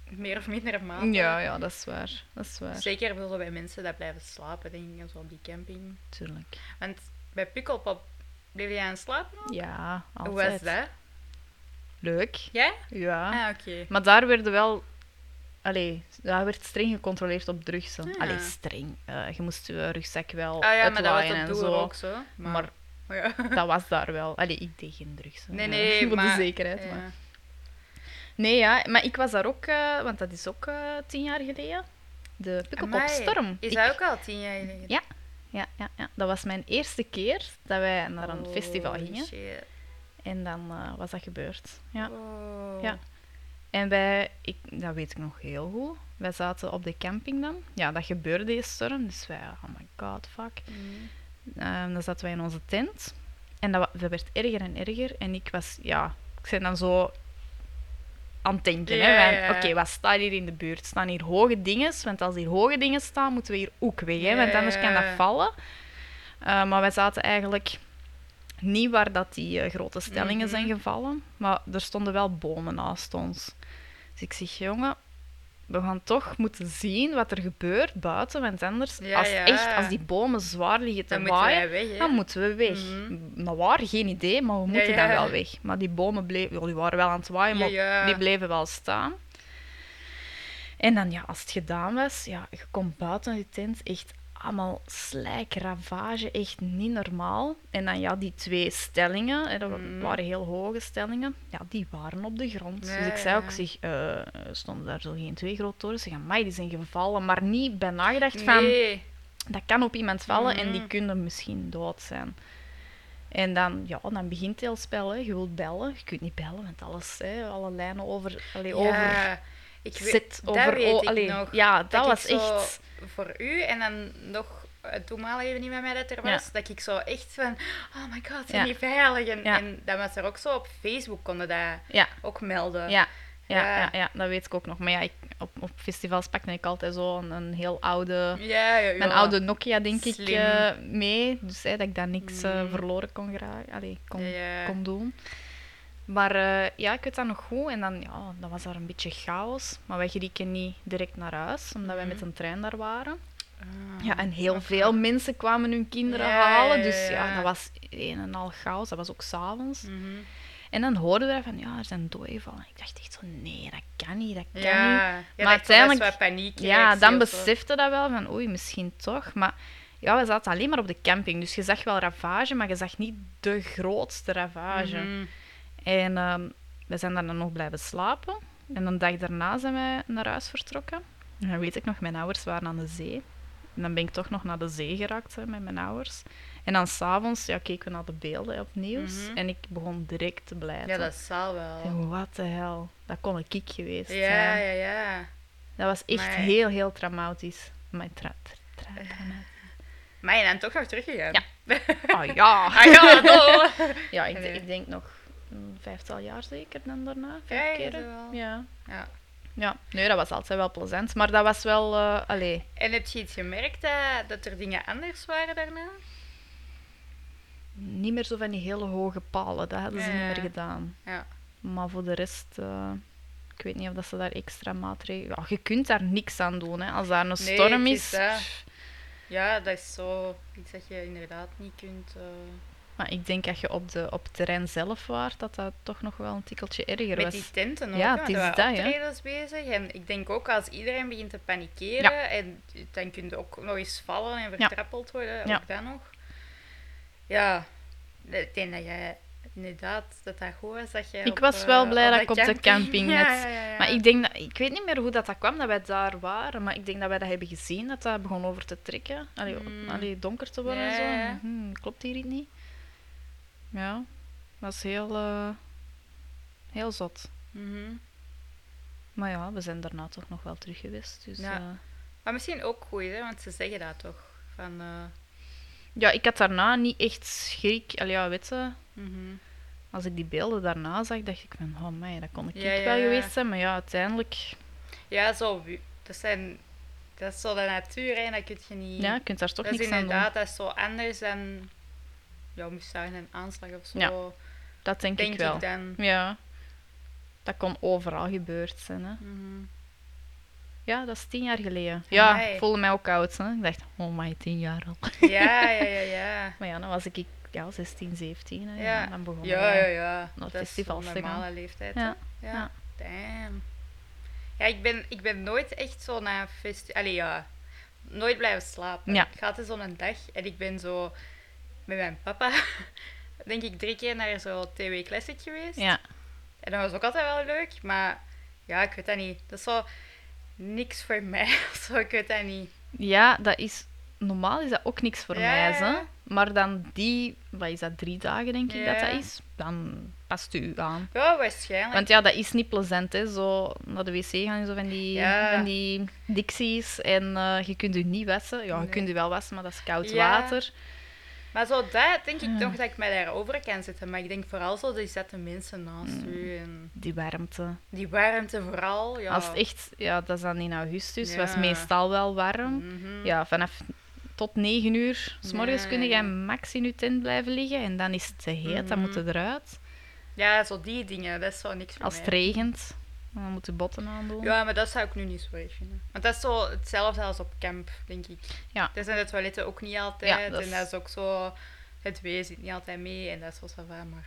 [SPEAKER 3] meer of minder mate.
[SPEAKER 2] Ja, ja, dat is waar. Dat is waar.
[SPEAKER 3] Zeker wel zo bij mensen dat blijven slapen, denk ik, en zo op die camping.
[SPEAKER 2] Tuurlijk.
[SPEAKER 3] Want bij Pukkelpop bleef jij aan het slapen?
[SPEAKER 2] Ja, altijd.
[SPEAKER 3] Hoe was dat?
[SPEAKER 2] Leuk.
[SPEAKER 3] Ja?
[SPEAKER 2] Ja.
[SPEAKER 3] Ah, oké.
[SPEAKER 2] Maar daar werden wel... Allee, daar werd streng gecontroleerd op drugs. hè.
[SPEAKER 3] Ah.
[SPEAKER 2] Allee, streng. Eh, je moest je rugzak wel
[SPEAKER 3] Ah ja, maar dat was
[SPEAKER 2] uitwaaien
[SPEAKER 3] op
[SPEAKER 2] en
[SPEAKER 3] Doer
[SPEAKER 2] zo.
[SPEAKER 3] ook zo.
[SPEAKER 2] Maar,
[SPEAKER 3] Maar ja.
[SPEAKER 2] dat was daar wel. Allee, ik deed geen drugs. hè.
[SPEAKER 3] Nee,
[SPEAKER 2] Eh,
[SPEAKER 3] nee,
[SPEAKER 2] Voor
[SPEAKER 3] maar...
[SPEAKER 2] de zekerheid.
[SPEAKER 3] ja.
[SPEAKER 2] Maar. Nee, ja. Maar ik was daar ook... eh, want dat is ook eh, tien jaar geleden. De
[SPEAKER 3] Amai,
[SPEAKER 2] Pukkelpopstorm.
[SPEAKER 3] Is
[SPEAKER 2] Ik-
[SPEAKER 3] dat ook al tien jaar geleden?
[SPEAKER 2] Ja, Ja, ja, ja, dat was mijn eerste keer dat wij naar een festival
[SPEAKER 3] Holy
[SPEAKER 2] gingen.
[SPEAKER 3] Oh, shit.
[SPEAKER 2] En dan eh, was dat gebeurd. Ja.
[SPEAKER 3] Oh.
[SPEAKER 2] Ja. En wij, ik, dat weet ik nog heel goed, wij zaten op de camping dan. Ja, dat gebeurde die storm, dus wij, oh my god, fuck.
[SPEAKER 3] Mm.
[SPEAKER 2] Ehm, dan zaten wij in onze tent. En dat, wa- dat werd erger en erger. En ik was, ja, ik ben dan zo aan het denken.
[SPEAKER 3] Ja,
[SPEAKER 2] hè. Wij-
[SPEAKER 3] ja, ja.
[SPEAKER 2] Oké, wat staat hier in de buurt? Staan hier hoge dingen? Want als hier hoge dingen staan, moeten we hier ook weg. Hè?
[SPEAKER 3] Ja,
[SPEAKER 2] Want anders
[SPEAKER 3] ja,
[SPEAKER 2] kan dat
[SPEAKER 3] ja.
[SPEAKER 2] vallen. Eh, maar wij zaten eigenlijk niet waar dat die eh, grote stellingen
[SPEAKER 3] Mhm.
[SPEAKER 2] zijn gevallen. Maar er stonden wel bomen naast ons. Dus ik zeg, jongen, we gaan toch moeten zien wat er gebeurt buiten. Want anders,
[SPEAKER 3] Ja,
[SPEAKER 2] als,
[SPEAKER 3] ja.
[SPEAKER 2] Echt, als die bomen zwaar liggen te
[SPEAKER 3] Dan moeten wij
[SPEAKER 2] waaien,
[SPEAKER 3] weg, hè?
[SPEAKER 2] dan moeten we weg.
[SPEAKER 3] Mhm.
[SPEAKER 2] Maar waar? Geen idee, maar we
[SPEAKER 3] Ja,
[SPEAKER 2] moeten
[SPEAKER 3] ja.
[SPEAKER 2] dan wel weg. Maar die bomen bleven, ja, die waren wel aan het waaien,
[SPEAKER 3] Ja,
[SPEAKER 2] maar
[SPEAKER 3] ja.
[SPEAKER 2] die bleven wel staan. En dan, ja, als het gedaan was, ja, je komt buiten die tent, echt allemaal slijk, ravage, echt niet normaal. En dan, ja, die twee stellingen, hè, dat wa-
[SPEAKER 3] Mhm.
[SPEAKER 2] waren heel hoge stellingen, ja, die waren op de grond.
[SPEAKER 3] Ja,
[SPEAKER 2] dus ik zei
[SPEAKER 3] ja.
[SPEAKER 2] ook, zeg, eh, stonden daar zo geen twee grote torens? Ze gaan, mij die zijn gevallen, maar niet bij nagedacht van
[SPEAKER 3] Nee.
[SPEAKER 2] dat kan op iemand vallen en die
[SPEAKER 3] Mhm.
[SPEAKER 2] kunnen misschien dood zijn. En dan, ja, dan begint heel spel. Hè. Je wilt bellen, je kunt niet bellen, want alles, hè, alle lijnen over, allee, over
[SPEAKER 3] Ja, ik weet-
[SPEAKER 2] zit,
[SPEAKER 3] dat
[SPEAKER 2] over
[SPEAKER 3] weet
[SPEAKER 2] o-
[SPEAKER 3] ik
[SPEAKER 2] allee,
[SPEAKER 3] nog.
[SPEAKER 2] Ja, dat,
[SPEAKER 3] ik
[SPEAKER 2] was
[SPEAKER 3] zo
[SPEAKER 2] echt.
[SPEAKER 3] Voor u en dan nog eh, toenmalig even niet met mij dat er
[SPEAKER 2] Ja.
[SPEAKER 3] was, dat ik zo echt van, oh my god, zijn
[SPEAKER 2] Ja.
[SPEAKER 3] die veilig? En,
[SPEAKER 2] Ja.
[SPEAKER 3] en dat was er ook zo op Facebook konden dat
[SPEAKER 2] Ja,
[SPEAKER 3] ook melden.
[SPEAKER 2] ja. Ja,
[SPEAKER 3] Ja.
[SPEAKER 2] ja. Ja, dat weet ik ook nog. Maar ja, ik, op, op festivals pakte ik altijd zo een, een heel oude,
[SPEAKER 3] ja, ja,
[SPEAKER 2] een
[SPEAKER 3] ja.
[SPEAKER 2] oude Nokia, denk ik,
[SPEAKER 3] Slim.
[SPEAKER 2] eh, mee. Dus hè, dat ik daar niks eh,
[SPEAKER 3] Mm.
[SPEAKER 2] verloren kon, geraken, allee, kon,
[SPEAKER 3] Ja, ja.
[SPEAKER 2] kon doen. Maar eh, ja, ik weet dat nog goed. En dan, ja, dan was daar een beetje chaos. Maar wij gerieken niet direct naar huis, omdat wij met een trein daar waren.
[SPEAKER 3] Mm. Ah.
[SPEAKER 2] Ja, en heel veel mensen kwamen hun kinderen
[SPEAKER 3] Ja,
[SPEAKER 2] halen.
[SPEAKER 3] ja,
[SPEAKER 2] Dus
[SPEAKER 3] ja.
[SPEAKER 2] ja, dat was een en al chaos. Dat was ook s'avonds.
[SPEAKER 3] Mhm.
[SPEAKER 2] En dan hoorden we van, ja, er zijn doden gevallen. Ik dacht echt zo, nee, dat kan niet, dat kan niet.
[SPEAKER 3] Ja, ja, maar uiteindelijk...
[SPEAKER 2] uiteindelijk-
[SPEAKER 3] Dat is wat paniek.
[SPEAKER 2] Ja, dan besefte dat wel van oei, misschien toch. Maar ja, we zaten alleen maar op de camping. Dus je zag wel ravage, maar je zag niet de grootste ravage.
[SPEAKER 3] Mhm.
[SPEAKER 2] En ehm, we zijn daar dan nog blijven slapen. En een dag daarna zijn wij naar huis vertrokken. En dan weet ik nog, mijn ouders waren aan de zee. En dan ben ik toch nog naar de zee geraakt hè, met mijn ouders. En dan s'avonds ja, keken we naar de beelden hè, op nieuws.
[SPEAKER 3] Mhm.
[SPEAKER 2] En ik begon direct te blijven.
[SPEAKER 3] Ja, dat zal wel.
[SPEAKER 2] Wat de hel. Dat kon een kiek geweest zijn.
[SPEAKER 3] Ja, ja, ja.
[SPEAKER 2] Dat was echt
[SPEAKER 3] Maar-
[SPEAKER 2] heel, heel traumatisch. Mijn tra... tra- tra-
[SPEAKER 3] Maar je bent toch nog teruggegaan.
[SPEAKER 2] Ja. Ah ja.
[SPEAKER 3] Ah ja, doe.
[SPEAKER 2] Ja, ik,
[SPEAKER 3] Allee.
[SPEAKER 2] ik denk nog een vijftal jaar zeker dan daarna.
[SPEAKER 3] Ja, ja,
[SPEAKER 2] Vijf
[SPEAKER 3] zo wel.
[SPEAKER 2] keren. Ja.
[SPEAKER 3] Ja.
[SPEAKER 2] ja. Nee, dat was altijd wel plezant. Maar dat was wel... eh allee.
[SPEAKER 3] eh, En heb je iets gemerkt dat, dat er dingen anders waren daarna?
[SPEAKER 2] niet meer zo van die hele hoge palen. Dat hadden ze
[SPEAKER 3] Ja,
[SPEAKER 2] niet
[SPEAKER 3] ja,
[SPEAKER 2] meer
[SPEAKER 3] ja.
[SPEAKER 2] gedaan.
[SPEAKER 3] Ja.
[SPEAKER 2] Maar voor de rest, eh, ik weet niet of dat ze daar extra maatregelen... Ja, je kunt daar niks aan doen. Hè. Als daar een
[SPEAKER 3] Nee,
[SPEAKER 2] storm
[SPEAKER 3] het
[SPEAKER 2] is...
[SPEAKER 3] is dat.
[SPEAKER 2] pff.
[SPEAKER 3] Ja, dat is zo iets dat je inderdaad niet kunt. eh,
[SPEAKER 2] Maar ik denk dat je op, de, op het terrein zelf waart, dat dat toch nog wel een tikkeltje erger
[SPEAKER 3] met
[SPEAKER 2] was.
[SPEAKER 3] die tenten ook.
[SPEAKER 2] Ja,
[SPEAKER 3] hè, er
[SPEAKER 2] het is
[SPEAKER 3] waren
[SPEAKER 2] dat, hè.
[SPEAKER 3] optredens bezig. En ik denk ook als iedereen begint te panikeren, en dan kun je ook nog eens vallen en vertrappeld worden.
[SPEAKER 2] Ja.
[SPEAKER 3] Ook dan nog. Ja, ik denk dat jij inderdaad dat dat goed was. Dat jij
[SPEAKER 2] Ik
[SPEAKER 3] op,
[SPEAKER 2] was wel
[SPEAKER 3] eh,
[SPEAKER 2] blij dat ik op de camping
[SPEAKER 3] ja,
[SPEAKER 2] net-
[SPEAKER 3] ja, ja, ja.
[SPEAKER 2] Maar ik denk dat, ik weet niet meer hoe dat, dat kwam dat wij daar waren, maar ik denk dat wij dat hebben gezien, dat dat begon over te trekken. Allee, op-
[SPEAKER 3] Mm.
[SPEAKER 2] allee, donker te worden
[SPEAKER 3] Ja, ja, ja.
[SPEAKER 2] en zo. Hm, klopt hier iets niet? Ja, dat is heel, eh, heel zot.
[SPEAKER 3] Mhm.
[SPEAKER 2] Maar ja, we zijn daarna toch nog wel terug geweest. Dus,
[SPEAKER 3] Ja.
[SPEAKER 2] ja.
[SPEAKER 3] Maar misschien ook goed, hè, want ze zeggen dat toch. Van, eh,
[SPEAKER 2] ja, ik had daarna niet echt schrik. Allee, ja, weet je,
[SPEAKER 3] mhm.
[SPEAKER 2] als ik die beelden daarna zag, dacht ik van, oh mij, dat kon ik
[SPEAKER 3] Ja,
[SPEAKER 2] ik
[SPEAKER 3] ja,
[SPEAKER 2] wel
[SPEAKER 3] ja.
[SPEAKER 2] geweest zijn. Maar ja, uiteindelijk,
[SPEAKER 3] Ja, zo. wi- Dat, zijn, dat is zo de natuur, hè, dat kun je niet.
[SPEAKER 2] ja, je kunt daar toch
[SPEAKER 3] dat is
[SPEAKER 2] niks aan doen.
[SPEAKER 3] inderdaad dat is zo anders dan. Ja, moest zeggen, een aanslag of zo.
[SPEAKER 2] Ja, Dat denk,
[SPEAKER 3] denk
[SPEAKER 2] ik wel.
[SPEAKER 3] dan.
[SPEAKER 2] Ja. Dat kon overal gebeurd zijn. Hè.
[SPEAKER 3] Mhm.
[SPEAKER 2] Ja, dat is tien jaar geleden. Ja,
[SPEAKER 3] Amai.
[SPEAKER 2] ik voelde mij ook oud. Hè. Ik dacht, oh my, tien jaar al.
[SPEAKER 3] Ja, ja, ja, ja.
[SPEAKER 2] Maar ja, dan was ik ja, 16, 17. Hè.
[SPEAKER 3] Ja.
[SPEAKER 2] En dan begon
[SPEAKER 3] Ja, ja,
[SPEAKER 2] we-
[SPEAKER 3] ja.
[SPEAKER 2] naar
[SPEAKER 3] Dat is de
[SPEAKER 2] festivals te gaan.
[SPEAKER 3] normale leeftijd.
[SPEAKER 2] Ja,
[SPEAKER 3] hè? Ja.
[SPEAKER 2] ja.
[SPEAKER 3] Damn. Ja, ik ben, ik ben nooit echt zo naar festival... Allee, ja. Nooit blijven slapen.
[SPEAKER 2] Ja.
[SPEAKER 3] Ik ga altijd zo'n dag en ik ben zo... Met mijn papa, denk ik, drie keer naar zo'n TW Classic geweest.
[SPEAKER 2] ja.
[SPEAKER 3] En dat was ook altijd wel leuk, maar... Ja, ik weet dat niet. Dat is zo... Niks voor mij. of zo, ik weet dat niet.
[SPEAKER 2] Ja, dat is... Normaal is dat ook niks voor
[SPEAKER 3] Ja,
[SPEAKER 2] mij.
[SPEAKER 3] ja,
[SPEAKER 2] Hè.
[SPEAKER 3] ja.
[SPEAKER 2] Maar dan die... Wat is dat? Drie dagen, denk ik, dat
[SPEAKER 3] Ja.
[SPEAKER 2] dat is. Dan past u aan.
[SPEAKER 3] Ja, waarschijnlijk.
[SPEAKER 2] Want ja, dat is niet plezant, hè. Zo naar de wc gaan, en zo van die,
[SPEAKER 3] Ja.
[SPEAKER 2] van die dicties. En eh, je kunt u niet wassen. Ja, je
[SPEAKER 3] Nee.
[SPEAKER 2] kunt u wel wassen, maar dat is koud
[SPEAKER 3] Ja.
[SPEAKER 2] water.
[SPEAKER 3] Maar zo dat denk ik toch dat ik mij daarover kan zetten. Maar ik denk vooral zo, die zetten mensen naast u. En
[SPEAKER 2] Die warmte.
[SPEAKER 3] die warmte vooral. Ja.
[SPEAKER 2] Als het echt, ja, dat is dan in augustus, was
[SPEAKER 3] Ja.
[SPEAKER 2] meestal wel warm.
[SPEAKER 3] Mhm.
[SPEAKER 2] Ja, vanaf tot 9 uur s morgens
[SPEAKER 3] Ja,
[SPEAKER 2] kun je
[SPEAKER 3] ja. Mhm.
[SPEAKER 2] max in je tent blijven liggen en dan is het te heet, dan moet je eruit.
[SPEAKER 3] ja, zo die dingen, dat is zo niks voor
[SPEAKER 2] Als
[SPEAKER 3] mij.
[SPEAKER 2] het regent, dan moet je botten aandoen.
[SPEAKER 3] Ja, maar dat zou ik nu niet zo erg vinden. Want dat is zo hetzelfde als op camp, denk ik.
[SPEAKER 2] Ja.
[SPEAKER 3] Daar zijn de toiletten ook niet altijd.
[SPEAKER 2] Ja, dat
[SPEAKER 3] En
[SPEAKER 2] is-
[SPEAKER 3] dat is ook zo... Het weer zit niet altijd mee en dat is wel zo van, maar...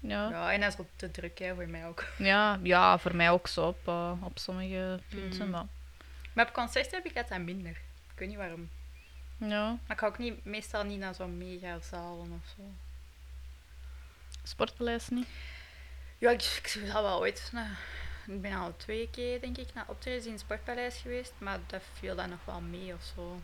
[SPEAKER 2] Ja. Ja.
[SPEAKER 3] Ja, en dat is ook te druk, hè, voor mij ook.
[SPEAKER 2] Ja, voor mij ook zo op, eh, op sommige punten.
[SPEAKER 3] Mhm.
[SPEAKER 2] Maar,
[SPEAKER 3] Maar op concerten heb ik dat dan minder. Ik weet niet waarom.
[SPEAKER 2] ja.
[SPEAKER 3] Maar ik ga ook niet, meestal niet naar zo'n mega zalen of zo.
[SPEAKER 2] Sportpaleis niet.
[SPEAKER 3] Ja, ik, ik zal wel ooit. naar- ik ben al twee keer, denk ik, naar optredens in het Sportpaleis geweest, maar dat viel dan nog wel mee of zo.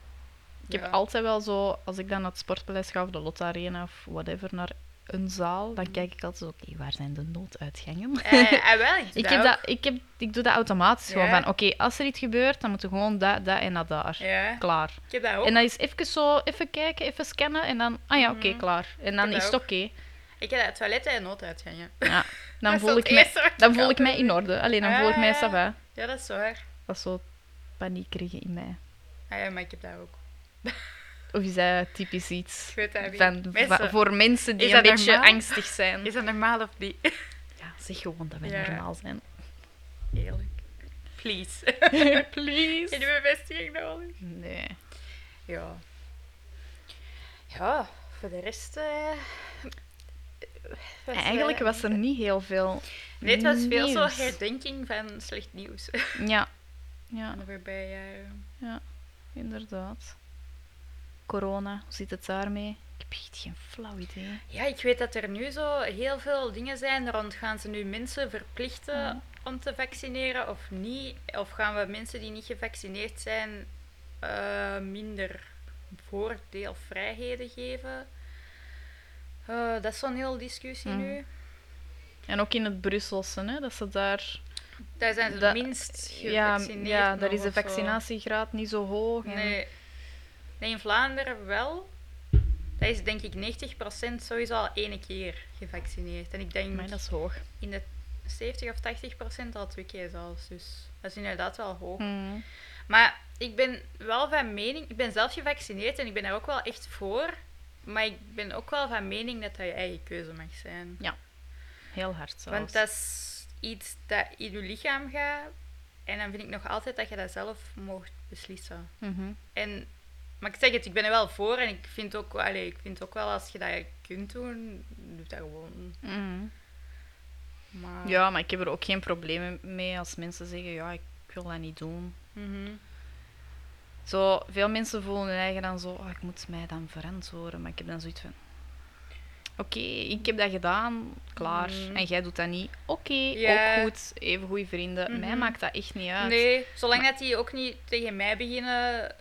[SPEAKER 2] Ik
[SPEAKER 3] Ja.
[SPEAKER 2] heb altijd wel zo, als ik dan naar het sportpaleis ga of de Lotte Arena of whatever, naar een zaal,
[SPEAKER 3] Mhm.
[SPEAKER 2] dan kijk ik altijd zo, oké, waar zijn de nooduitgangen?
[SPEAKER 3] Eh, ah, wel, ik,
[SPEAKER 2] Ik, heb dat, ik, heb, ik doe dat automatisch. Gewoon
[SPEAKER 3] Ja.
[SPEAKER 2] van, oké, als er iets gebeurt, dan moeten we gewoon dat, dat en dat daar.
[SPEAKER 3] Ja, Oh.
[SPEAKER 2] Klaar.
[SPEAKER 3] ik heb dat ook.
[SPEAKER 2] En dan is even zo, even kijken, even scannen en dan, ah ja, oké,
[SPEAKER 3] Mhm.
[SPEAKER 2] klaar. En dan
[SPEAKER 3] heb
[SPEAKER 2] is
[SPEAKER 3] dat
[SPEAKER 2] het oké.
[SPEAKER 3] Ik heb dat toilet en nooduitgangen.
[SPEAKER 2] Ja. Dan,
[SPEAKER 3] Dat is
[SPEAKER 2] voel
[SPEAKER 3] het
[SPEAKER 2] ik mij,
[SPEAKER 3] eerste wat
[SPEAKER 2] dan
[SPEAKER 3] ik
[SPEAKER 2] voel ik
[SPEAKER 3] altijd
[SPEAKER 2] mij in orde. Alleen dan voel ik mij
[SPEAKER 3] Ah.
[SPEAKER 2] ça va.
[SPEAKER 3] Ja, dat is waar.
[SPEAKER 2] Dat is zo paniekerige in mij.
[SPEAKER 3] Ah, ja, maar ik heb dat ook.
[SPEAKER 2] Of is dat typisch
[SPEAKER 3] Ik
[SPEAKER 2] iets
[SPEAKER 3] weet dat niet.
[SPEAKER 2] van,
[SPEAKER 3] Mensen,
[SPEAKER 2] va- voor mensen die
[SPEAKER 3] is
[SPEAKER 2] een
[SPEAKER 3] dat
[SPEAKER 2] beetje
[SPEAKER 3] normaal?
[SPEAKER 2] angstig zijn?
[SPEAKER 3] Is dat normaal of niet?
[SPEAKER 2] Ja, zeg gewoon dat wij
[SPEAKER 3] Ja.
[SPEAKER 2] normaal zijn.
[SPEAKER 3] Eerlijk. Please. Ik doe
[SPEAKER 2] Please.
[SPEAKER 3] mijn best hier nodig.
[SPEAKER 2] Nee.
[SPEAKER 3] Ja. Ja, voor de rest... eh, was, eh,
[SPEAKER 2] Eigenlijk was er niet heel veel
[SPEAKER 3] Nee, het was veel
[SPEAKER 2] nieuws.
[SPEAKER 3] zo herdenking van slecht nieuws
[SPEAKER 2] Ja. Ja,
[SPEAKER 3] van de voorbije
[SPEAKER 2] eh,
[SPEAKER 3] jaren.
[SPEAKER 2] inderdaad. Corona, hoe zit het daarmee? Ik heb echt geen flauw idee.
[SPEAKER 3] Ja, ik weet dat er nu zo heel veel dingen zijn rond gaan ze nu mensen verplichten
[SPEAKER 2] Ja.
[SPEAKER 3] om te vaccineren of niet? Of gaan we mensen die niet gevaccineerd zijn eh, minder voordeelvrijheden geven? Eh, dat is zo'n hele discussie
[SPEAKER 2] Mhm.
[SPEAKER 3] nu.
[SPEAKER 2] En ook in het Brusselse, hè, dat ze daar...
[SPEAKER 3] Daar zijn ze
[SPEAKER 2] Dat-
[SPEAKER 3] het minst
[SPEAKER 2] Ja,
[SPEAKER 3] gevaccineerd.
[SPEAKER 2] ja, daar
[SPEAKER 3] nog
[SPEAKER 2] is de
[SPEAKER 3] of zo.
[SPEAKER 2] vaccinatiegraad niet zo hoog. En...
[SPEAKER 3] Nee. nee, in Vlaanderen wel. Dat is denk ik 90% sowieso al ene keer gevaccineerd. En ik denk
[SPEAKER 2] Maar dat is hoog.
[SPEAKER 3] in de 70 of 80% al twee keer zelfs. Dus dat is inderdaad wel hoog.
[SPEAKER 2] Mm.
[SPEAKER 3] Maar ik ben wel van mening, ik ben zelf gevaccineerd en ik ben daar ook wel echt voor. Maar ik ben ook wel van mening dat dat je eigen keuze mag zijn.
[SPEAKER 2] Heel hard zelfs.
[SPEAKER 3] Want dat is iets dat in je lichaam gaat. En dan vind ik nog altijd dat je dat zelf mocht beslissen.
[SPEAKER 2] Mhm.
[SPEAKER 3] En, maar ik zeg het, ik ben er wel voor. En ik vind ook, allee, ik vind ook wel als je dat kunt doen, doe dat gewoon.
[SPEAKER 2] Mhm.
[SPEAKER 3] Maar,
[SPEAKER 2] Ja, maar ik heb er ook geen problemen mee als mensen zeggen, ja, ik wil dat niet doen.
[SPEAKER 3] Mhm.
[SPEAKER 2] Zo, veel mensen voelen hun eigen dan zo, "Ah, ik moet mij dan verantwoorden. Maar ik heb dan zoiets van, oké, ik heb dat gedaan, klaar.
[SPEAKER 3] Mhm.
[SPEAKER 2] En jij doet dat niet, oké,
[SPEAKER 3] Ja.
[SPEAKER 2] ook goed, even goede vrienden. Mij
[SPEAKER 3] Mhm.
[SPEAKER 2] maakt dat echt niet uit.
[SPEAKER 3] Nee, zolang dat die ook niet tegen mij beginnen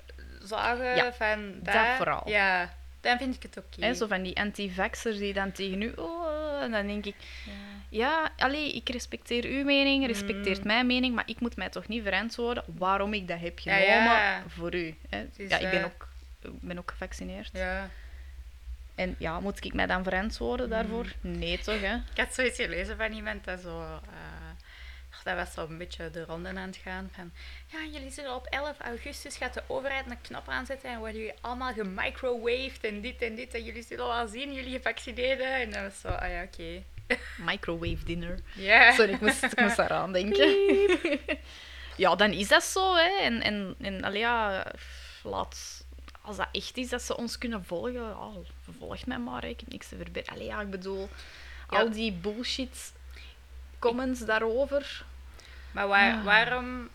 [SPEAKER 3] zagen
[SPEAKER 2] Ja,
[SPEAKER 3] van
[SPEAKER 2] dat vooral.
[SPEAKER 3] Ja, dan vind ik het oké.
[SPEAKER 2] Hè, zo van die anti-vaxxers die dan tegen u... Oh, en dan denk ik,
[SPEAKER 3] Ja.
[SPEAKER 2] ja, allee, ik respecteer uw mening, respecteert
[SPEAKER 3] Mm.
[SPEAKER 2] mijn mening, maar ik moet mij toch niet verantwoorden waarom ik dat heb
[SPEAKER 3] Ja,
[SPEAKER 2] genomen
[SPEAKER 3] ja.
[SPEAKER 2] voor u. Hè.
[SPEAKER 3] is,
[SPEAKER 2] ja, ik ben
[SPEAKER 3] eh,
[SPEAKER 2] ook, ik ben ook gevaccineerd.
[SPEAKER 3] Ja.
[SPEAKER 2] En ja, moet ik mij dan verantwoorden
[SPEAKER 3] Mm.
[SPEAKER 2] daarvoor? Nee, toch, hè?
[SPEAKER 3] Ik had zoiets gelezen van iemand dat zo... eh, ach, dat was zo een beetje de ronden aan het gaan van... Ja, jullie zullen op 11 augustus gaat de overheid een knop aanzetten en worden jullie allemaal gemicrowaved en dit en dit. En jullie zullen wel zien, jullie gevaccineerden. En dan was zo, ah ja, oké.
[SPEAKER 2] Microwave dinner.
[SPEAKER 3] Ja.
[SPEAKER 2] Sorry, ik moest, ik moest daaraan denken. ja, dan is dat zo, hè. En, en, en allee, ja, f- laat... Als dat echt is dat ze ons kunnen volgen, ja, volg mij maar, hè. ik heb niks te verbergen. Allee, ja, ik bedoel,
[SPEAKER 3] Ja.
[SPEAKER 2] al die bullshit comments daarover.
[SPEAKER 3] Maar waar-
[SPEAKER 2] Ah.
[SPEAKER 3] waarom...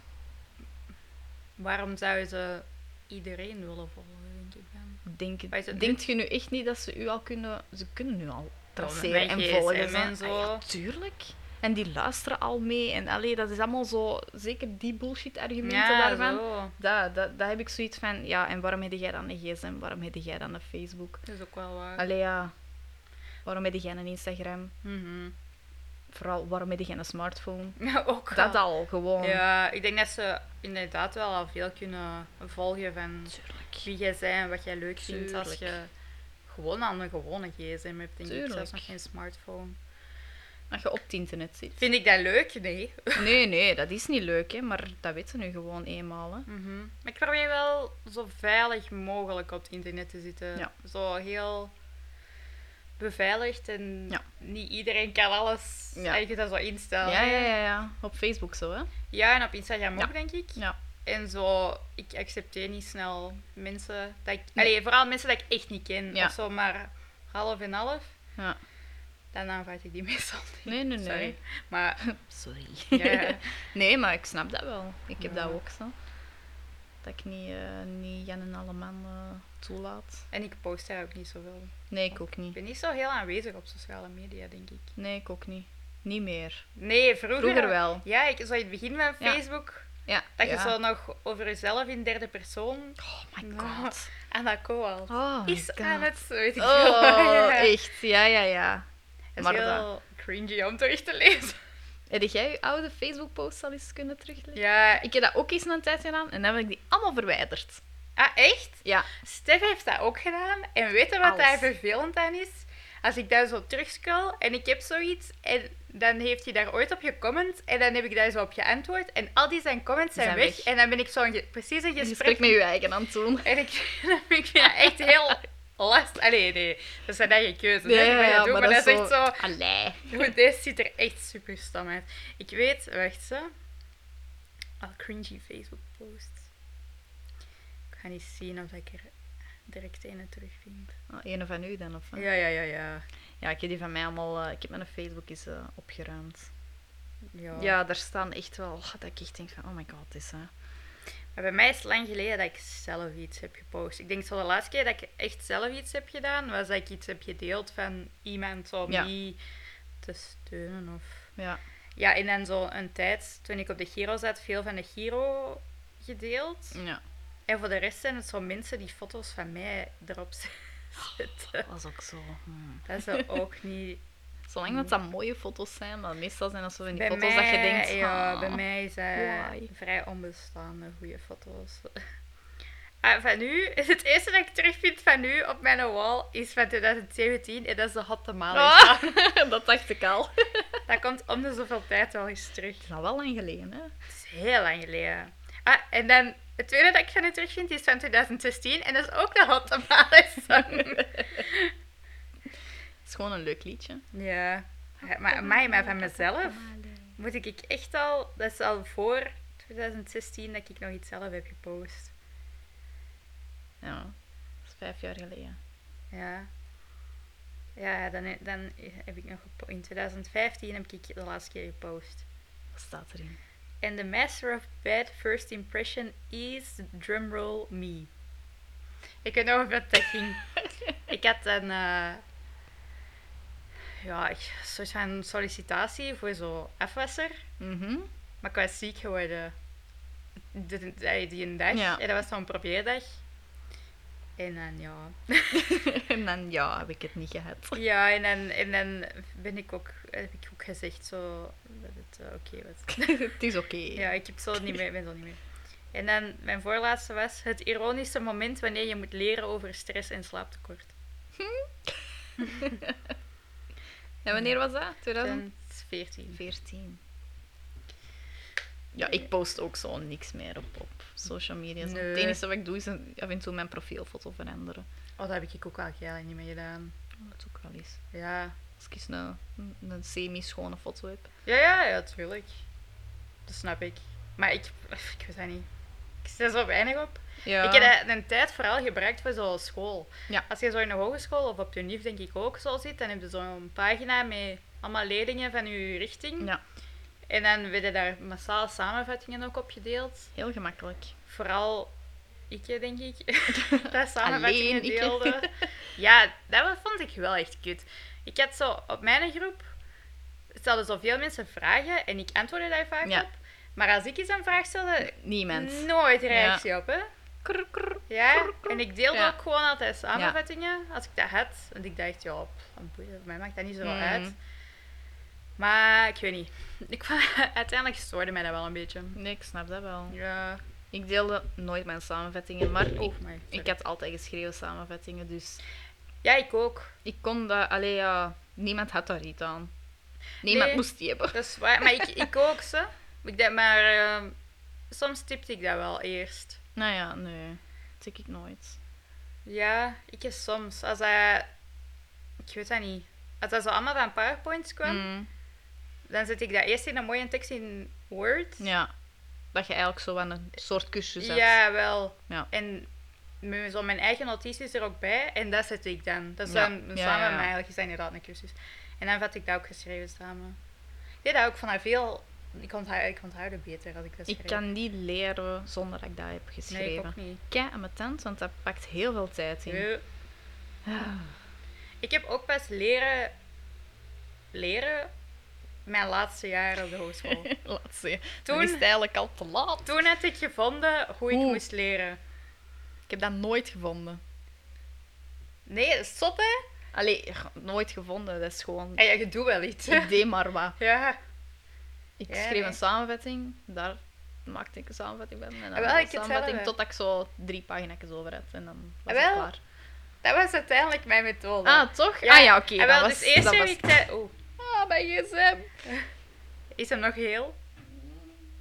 [SPEAKER 3] Waarom zou ze iedereen willen volgen, denk ik dan?
[SPEAKER 2] Denk,
[SPEAKER 3] Maar is het
[SPEAKER 2] denkt je nu echt niet dat ze u al kunnen... Ze kunnen nu al
[SPEAKER 3] met
[SPEAKER 2] traceren en
[SPEAKER 3] GSM
[SPEAKER 2] volgen.
[SPEAKER 3] en
[SPEAKER 2] hè.
[SPEAKER 3] zo.
[SPEAKER 2] Ah ja, tuurlijk. En die luisteren al mee. En allee, dat is allemaal zo... Zeker die bullshit-argumenten daarvan.
[SPEAKER 3] zo.
[SPEAKER 2] Dat, dat, dat heb ik zoiets van... Ja, en waarom heb jij dan een gsm? Waarom heb jij dan een Facebook?
[SPEAKER 3] Dat is ook wel waar.
[SPEAKER 2] Allee, ja. Waarom heb jij een Instagram?
[SPEAKER 3] Mhm.
[SPEAKER 2] Vooral, waarom heb jij een smartphone?
[SPEAKER 3] Ja, ook wel.
[SPEAKER 2] Dat al, gewoon.
[SPEAKER 3] Ja, ik denk dat ze inderdaad wel al veel kunnen volgen van
[SPEAKER 2] Tuurlijk.
[SPEAKER 3] wie jij bent en wat jij leuk vindt als je
[SPEAKER 2] Tuurlijk.
[SPEAKER 3] gewoon aan een gewone gsm hebt, denk ik.
[SPEAKER 2] Tuurlijk.
[SPEAKER 3] Zelfs nog geen smartphone.
[SPEAKER 2] Als je op het internet zit.
[SPEAKER 3] Vind ik dat leuk? Nee.
[SPEAKER 2] Nee, nee, dat is niet leuk, hè. Maar dat weten ze nu gewoon eenmaal, hè.
[SPEAKER 3] Mhm. Maar ik probeer wel zo veilig mogelijk op het internet te zitten.
[SPEAKER 2] Ja.
[SPEAKER 3] Zo heel beveiligd en
[SPEAKER 2] Ja.
[SPEAKER 3] niet iedereen kan alles
[SPEAKER 2] Ja.
[SPEAKER 3] eigenlijk dat zo instellen.
[SPEAKER 2] Ja, ja, ja, ja. Op Facebook zo, hè.
[SPEAKER 3] Ja, en op Instagram
[SPEAKER 2] Ja.
[SPEAKER 3] ook, denk ik.
[SPEAKER 2] Ja.
[SPEAKER 3] En zo, ik accepteer niet snel mensen. Dat ik,
[SPEAKER 2] Nee.
[SPEAKER 3] allee, vooral mensen dat ik echt niet ken.
[SPEAKER 2] Ja.
[SPEAKER 3] Of zo maar half en half.
[SPEAKER 2] Ja.
[SPEAKER 3] Dan aanvaard ik die meestal niet.
[SPEAKER 2] Nee, nee, nee.
[SPEAKER 3] Sorry. Maar
[SPEAKER 2] Sorry.
[SPEAKER 3] ja,
[SPEAKER 2] Nee, maar ik snap dat wel. Ik heb
[SPEAKER 3] Ja.
[SPEAKER 2] dat ook zo. Dat ik niet, eh, niet Jan en Alleman eh, toelaat.
[SPEAKER 3] en ik post daar ook niet zoveel.
[SPEAKER 2] Nee, ik ook
[SPEAKER 3] Ik
[SPEAKER 2] niet.
[SPEAKER 3] ben niet zo heel aanwezig op sociale media, denk ik.
[SPEAKER 2] Nee, ik ook niet. Niet meer.
[SPEAKER 3] Nee, vroeger,
[SPEAKER 2] Vroeger wel.
[SPEAKER 3] Ja, ik, zo in het begin van
[SPEAKER 2] Ja.
[SPEAKER 3] Facebook.
[SPEAKER 2] Ja.
[SPEAKER 3] Dat
[SPEAKER 2] ja.
[SPEAKER 3] je zo nog over jezelf in derde persoon
[SPEAKER 2] Oh my
[SPEAKER 3] Ja.
[SPEAKER 2] god.
[SPEAKER 3] aan dat koal.
[SPEAKER 2] Oh my
[SPEAKER 3] is aan
[SPEAKER 2] God.
[SPEAKER 3] het, weet ik veel.
[SPEAKER 2] Oh,
[SPEAKER 3] Ja.
[SPEAKER 2] echt. Ja, ja, ja.
[SPEAKER 3] Het
[SPEAKER 2] maar
[SPEAKER 3] is heel cringy om terug te lezen.
[SPEAKER 2] Heb jij je oude Facebook-posts al eens kunnen terugleggen?
[SPEAKER 3] Ja.
[SPEAKER 2] Ik heb dat ook eens een tijd gedaan en dan heb ik die allemaal verwijderd.
[SPEAKER 3] Ah, echt?
[SPEAKER 2] Ja.
[SPEAKER 3] Stef heeft dat ook gedaan. En weet je wat
[SPEAKER 2] Alles.
[SPEAKER 3] daar vervelend aan is? Als ik daar zo terugscroll en ik heb zoiets en dan heeft hij daar ooit op gecomment en dan heb ik daar zo op geantwoord en al die zijn comments zijn,
[SPEAKER 2] Zijn
[SPEAKER 3] weg.
[SPEAKER 2] weg.
[SPEAKER 3] en dan ben ik zo een ge- precies een
[SPEAKER 2] Je
[SPEAKER 3] gesprek,
[SPEAKER 2] spreekt met je eigen aan het doen.
[SPEAKER 3] en ik, ik vind dat echt heel lastig. Allee, nee, dat zijn eigen keuzes. hè, die mag je doen, maar, dat is echt zo...
[SPEAKER 2] Allee.
[SPEAKER 3] Goed, deze ziet er echt super stom uit. Ik weet, wacht ze. Al cringy Facebook posts. Ik ga niet zien of ik er direct een terugvind.
[SPEAKER 2] Oh, een van u dan, of wat?
[SPEAKER 3] Ja, ja, ja, ja.
[SPEAKER 2] Ja, ik heb die van mij allemaal... eh, ik heb mijn Facebook eens eh, opgeruimd.
[SPEAKER 3] ja.
[SPEAKER 2] Ja, daar staan echt wel... oh, dat ik echt denk van, oh my god, dit is... hè.
[SPEAKER 3] Maar bij mij is het lang geleden dat ik zelf iets heb gepost. Ik denk zo de laatste keer dat ik echt zelf iets heb gedaan, was dat ik iets heb gedeeld van iemand om
[SPEAKER 2] Ja.
[SPEAKER 3] die te steunen of...
[SPEAKER 2] Ja.
[SPEAKER 3] Ja, en dan zo een tijd, toen ik op de Giro zat, veel van de Giro gedeeld.
[SPEAKER 2] ja.
[SPEAKER 3] En voor de rest zijn het zo mensen die foto's van mij erop zetten.
[SPEAKER 2] Dat was ook zo... hmm.
[SPEAKER 3] Dat is ook niet.
[SPEAKER 2] Zolang dat dat mooie foto's zijn, maar meestal zijn dat zo van die
[SPEAKER 3] Mm. Bij
[SPEAKER 2] foto's dat je
[SPEAKER 3] mij-
[SPEAKER 2] denkt...
[SPEAKER 3] Ja,
[SPEAKER 2] ah.
[SPEAKER 3] bij mij is dat
[SPEAKER 2] why?
[SPEAKER 3] vrij onbestaande goede foto's. Ah, van nu, het eerste dat ik terugvind van nu op mijn wall is van 2017 en dat is de Hot Tamale.
[SPEAKER 2] Ah, dat dacht ik al.
[SPEAKER 3] Dat komt om de zoveel tijd wel eens terug.
[SPEAKER 2] is al wel lang geleden, hè?
[SPEAKER 3] Het is heel lang geleden. Ah, en dan Het tweede dat ik ga nu terugvind, die is van 2016. En dat is ook de Hot Tamales song.
[SPEAKER 2] Het is gewoon een leuk liedje.
[SPEAKER 3] ja. Maar, maar, maar van mezelf moet ik echt al... Dat is al voor 2016 dat ik nog iets zelf heb gepost.
[SPEAKER 2] Ja, dat is vijf jaar geleden.
[SPEAKER 3] Ja. Ja, dan, he- dan heb ik nog gepo- in 2015 heb ik de laatste keer gepost.
[SPEAKER 2] Wat staat erin?
[SPEAKER 3] En the master of bad first impression is drumroll me. Ik weet nog wat dat ging. ik had een eh, ja, ik- een soort van sollicitatie voor zo'n afwasser.
[SPEAKER 2] Mhm.
[SPEAKER 3] Maar ik was ziek geworden de, de- die- die een dag.
[SPEAKER 2] Ja.
[SPEAKER 3] En dat was zo'n probeerdag. En dan ja,
[SPEAKER 2] en dan, ja, heb ik het niet gehad.
[SPEAKER 3] Ja, en dan, en dan ben ik ook, heb ik ook gezegd zo, dat het eh, oké was.
[SPEAKER 2] het is oké.
[SPEAKER 3] Ja, ik heb zo niet meer, ben zo niet meer. En dan, mijn voorlaatste was het ironische moment wanneer je moet leren over stress en slaaptekort.
[SPEAKER 2] En wanneer was dat? 2014.
[SPEAKER 3] 2014.
[SPEAKER 2] Ja, ik post ook zo niks meer op, op social media. Zo.
[SPEAKER 3] Nee.
[SPEAKER 2] Het enige wat ik doe is een- af en toe mijn profielfoto veranderen.
[SPEAKER 3] Oh, dat heb ik ook al jaren niet meer gedaan.
[SPEAKER 2] Dat doe ik wel eens.
[SPEAKER 3] Ja.
[SPEAKER 2] Als ik eens een, een semi-schone foto heb.
[SPEAKER 3] Ja, ja, ja, tuurlijk. Dat snap ik. Maar ik, ik weet dat niet. Ik zit er zo weinig op.
[SPEAKER 2] Ja.
[SPEAKER 3] Ik heb dat een tijd vooral gebruikt voor zo'n school.
[SPEAKER 2] Ja.
[SPEAKER 3] Als je zo in de hogeschool of op de NIF denk ik ook zo zit, dan heb je zo'n pagina met allemaal leerlingen van je richting.
[SPEAKER 2] Ja.
[SPEAKER 3] En dan werden daar massaal samenvattingen ook op gedeeld.
[SPEAKER 2] Heel gemakkelijk.
[SPEAKER 3] Vooral ik, denk ik, dat samenvattingen
[SPEAKER 2] Alleen ik.
[SPEAKER 3] deelde. Ja, dat wa- vond ik wel echt kut. Ik had zo, op mijn groep stelden zoveel mensen vragen en ik antwoordde daar vaak
[SPEAKER 2] Ja.
[SPEAKER 3] op. Maar als ik eens een vraag stelde,
[SPEAKER 2] Niemand.
[SPEAKER 3] nooit reactie op, hè.
[SPEAKER 2] Krr, krr.
[SPEAKER 3] Ja,
[SPEAKER 2] Krr, krr.
[SPEAKER 3] en ik deelde
[SPEAKER 2] Ja.
[SPEAKER 3] ook gewoon altijd samenvattingen als ik dat had. Want ik dacht, ja, pff, wat boeit het, voor mij maakt dat niet zo
[SPEAKER 2] Mm.
[SPEAKER 3] uit. Maar ik weet niet. Ik, vond- uiteindelijk stoorde mij dat wel een beetje.
[SPEAKER 2] Nee, ik snap dat wel.
[SPEAKER 3] Ja,
[SPEAKER 2] Ik deelde nooit mijn samenvattingen, maar ik,
[SPEAKER 3] oh, my,
[SPEAKER 2] ik had altijd geschreven samenvattingen, dus
[SPEAKER 3] Ja, ik ook.
[SPEAKER 2] ik kon dat... Allee, ja, niemand had daar iets aan. Niemand
[SPEAKER 3] Nee.
[SPEAKER 2] moest die hebben.
[SPEAKER 3] Dat is waar. Maar ik, ik ook, ze. Ik dacht, maar ehm, soms tipte ik dat wel eerst.
[SPEAKER 2] Nou ja, nee. Dat zeg ik nooit.
[SPEAKER 3] Ja, ik is soms. Als dat... Ik weet dat niet. Als dat zo allemaal van powerpoints kwam,
[SPEAKER 2] Mm,
[SPEAKER 3] dan zet ik dat eerst in een mooie tekst in Word.
[SPEAKER 2] ja. Dat je eigenlijk zo aan een soort kusje zet.
[SPEAKER 3] Ja, wel.
[SPEAKER 2] Ja.
[SPEAKER 3] En mijn, zo mijn eigen notities er ook bij. En dat zet ik dan. Dat is
[SPEAKER 2] Ja.
[SPEAKER 3] dan
[SPEAKER 2] Ja,
[SPEAKER 3] samen
[SPEAKER 2] ja, ja.
[SPEAKER 3] met mij eigenlijk is dat inderdaad een cursus. En dan had ik dat ook geschreven samen. Ik deed dat ook van haar veel... Ik onthoud, ik onthoud beter als ik dat schreef.
[SPEAKER 2] Ik kan niet leren zonder dat ik dat heb geschreven.
[SPEAKER 3] Nee, ik ook niet.
[SPEAKER 2] Kei aan mijn tent, want dat pakt heel veel tijd in. Ah.
[SPEAKER 3] Nee. Ik heb ook pas leren... Leren... Mijn laatste jaar op de hogeschool.
[SPEAKER 2] Laat zien. Toen
[SPEAKER 3] Toen-
[SPEAKER 2] is het eigenlijk al te laat.
[SPEAKER 3] Toen had ik gevonden hoe ik
[SPEAKER 2] Hoe?
[SPEAKER 3] moest leren.
[SPEAKER 2] Ik heb dat nooit gevonden.
[SPEAKER 3] Nee, dat is zot, hè?
[SPEAKER 2] Allee, g- nooit gevonden. Dat is gewoon...
[SPEAKER 3] En ja, je doet wel iets.
[SPEAKER 2] Ik deed maar wat.
[SPEAKER 3] Ja.
[SPEAKER 2] Ik
[SPEAKER 3] Ja,
[SPEAKER 2] schreef
[SPEAKER 3] nee.
[SPEAKER 2] een samenvatting. Daar maakte ik een samenvatting van. En dan
[SPEAKER 3] Ah, wel,
[SPEAKER 2] nog een
[SPEAKER 3] ik
[SPEAKER 2] samenvatting
[SPEAKER 3] hetzelfde.
[SPEAKER 2] totdat ik zo drie pagina's over had. En dan was
[SPEAKER 3] Ah,
[SPEAKER 2] het
[SPEAKER 3] wel.
[SPEAKER 2] klaar.
[SPEAKER 3] Dat was uiteindelijk mijn methode.
[SPEAKER 2] Ah, toch? Ja, ah, ja oké.
[SPEAKER 3] en
[SPEAKER 2] dat
[SPEAKER 3] wel,
[SPEAKER 2] was...
[SPEAKER 3] dus eerst
[SPEAKER 2] dat
[SPEAKER 3] heb
[SPEAKER 2] was...
[SPEAKER 3] ik de... Oeh,
[SPEAKER 2] Ah, mijn gsm.
[SPEAKER 3] is hem nog heel?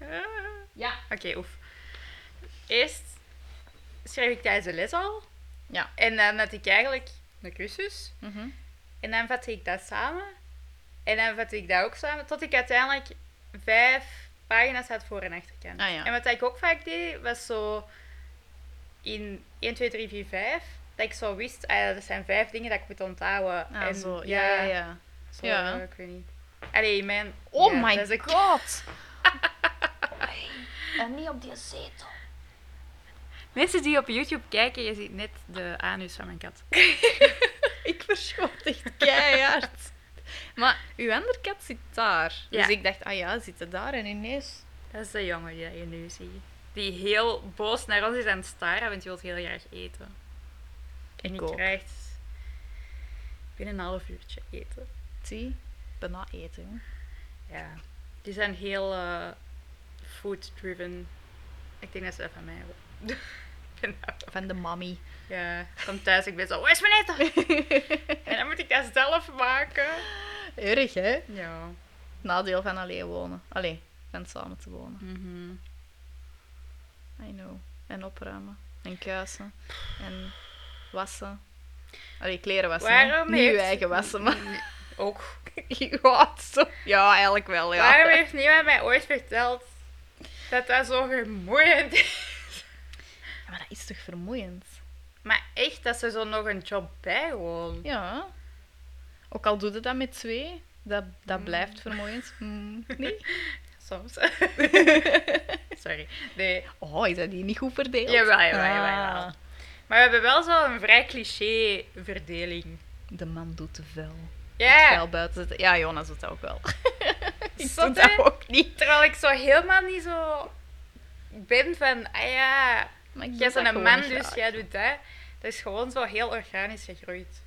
[SPEAKER 3] Ah,
[SPEAKER 2] Ja.
[SPEAKER 3] Oké, oef. Eerst schreef ik tijdens de les al.
[SPEAKER 2] Ja.
[SPEAKER 3] En dan had ik eigenlijk een cursus.
[SPEAKER 2] Mhm.
[SPEAKER 3] En dan vatte ik dat samen. En dan vatte ik dat ook samen. Tot ik uiteindelijk vijf pagina's had voor- en achterkant.
[SPEAKER 2] Ah, ja.
[SPEAKER 3] En wat ik ook vaak deed, was zo in 1, 2, 3, 4, 5. Dat ik zo wist, ah, ja, dat zijn vijf dingen dat ik moet onthouden.
[SPEAKER 2] Ah,
[SPEAKER 3] en,
[SPEAKER 2] zo. Ja, ja, ja.
[SPEAKER 3] Zo,
[SPEAKER 2] Ja.
[SPEAKER 3] eh, ik weet niet. Allee, mijn...
[SPEAKER 2] Oh
[SPEAKER 3] ja,
[SPEAKER 2] my
[SPEAKER 3] dat is een-
[SPEAKER 2] god. en niet op die zetel.
[SPEAKER 3] Mensen die op YouTube kijken, je ziet net de anus van mijn kat.
[SPEAKER 2] Ik verschoot echt keihard. maar uw andere kat zit daar.
[SPEAKER 3] Ja.
[SPEAKER 2] Dus ik dacht, ah ja, zit het daar en ineens...
[SPEAKER 3] Dat is de jongen die je nu ziet. Die heel boos naar ons is aan het staren, want die wil heel graag eten. En
[SPEAKER 2] Ik
[SPEAKER 3] die
[SPEAKER 2] ook.
[SPEAKER 3] krijgt binnen een half uurtje eten.
[SPEAKER 2] Zie, bijna eten. hoor.
[SPEAKER 3] Ja. Die zijn heel eh, food-driven. Ik denk dat ze dat van mij hebben. Ik ben daar
[SPEAKER 2] Van de mami.
[SPEAKER 3] Ja, ik kom thuis, ik ben zo, waar is mijn eten? en dan moet ik dat zelf maken.
[SPEAKER 2] Erg, hè?
[SPEAKER 3] Ja.
[SPEAKER 2] Nadeel van alleen wonen. Allee, van samen te wonen.
[SPEAKER 3] Mhm.
[SPEAKER 2] I know. En opruimen. En kuisen. En wassen. Allee, kleren wassen. hè.
[SPEAKER 3] Waarom
[SPEAKER 2] Niet
[SPEAKER 3] heeft-
[SPEAKER 2] je eigen wassen, maar...
[SPEAKER 3] Ook.
[SPEAKER 2] ja, het is zo- ja, eigenlijk wel, ja.
[SPEAKER 3] Waarom heeft niemand mij ooit verteld dat dat zo vermoeiend is?
[SPEAKER 2] Ja, Maar dat is toch vermoeiend?
[SPEAKER 3] Maar echt, dat ze zo nog een job bij gewoon.
[SPEAKER 2] Ja. Ook al doe je dat met twee, dat, dat blijft vermoeiend. Mm, niet?
[SPEAKER 3] Soms. Sorry. Nee.
[SPEAKER 2] Oh, is dat hier niet goed verdeeld?
[SPEAKER 3] Jawel, jawel, jawel,
[SPEAKER 2] Ah,
[SPEAKER 3] jawel. Maar we hebben wel zo'n vrij cliché verdeling.
[SPEAKER 2] De man doet te vuil. Het
[SPEAKER 3] Ja,
[SPEAKER 2] vuil buiten zetten. Ja, Jonas doet dat ook wel. ik doe
[SPEAKER 3] Zot,
[SPEAKER 2] dat
[SPEAKER 3] hè?
[SPEAKER 2] ook niet.
[SPEAKER 3] terwijl ik zo helemaal niet zo ben van, ah ja,
[SPEAKER 2] Maar
[SPEAKER 3] jij
[SPEAKER 2] ik doe dat
[SPEAKER 3] bent een
[SPEAKER 2] gewoon
[SPEAKER 3] man,
[SPEAKER 2] niet
[SPEAKER 3] dus
[SPEAKER 2] graag.
[SPEAKER 3] jij doet dat. Dat is gewoon zo heel organisch gegroeid.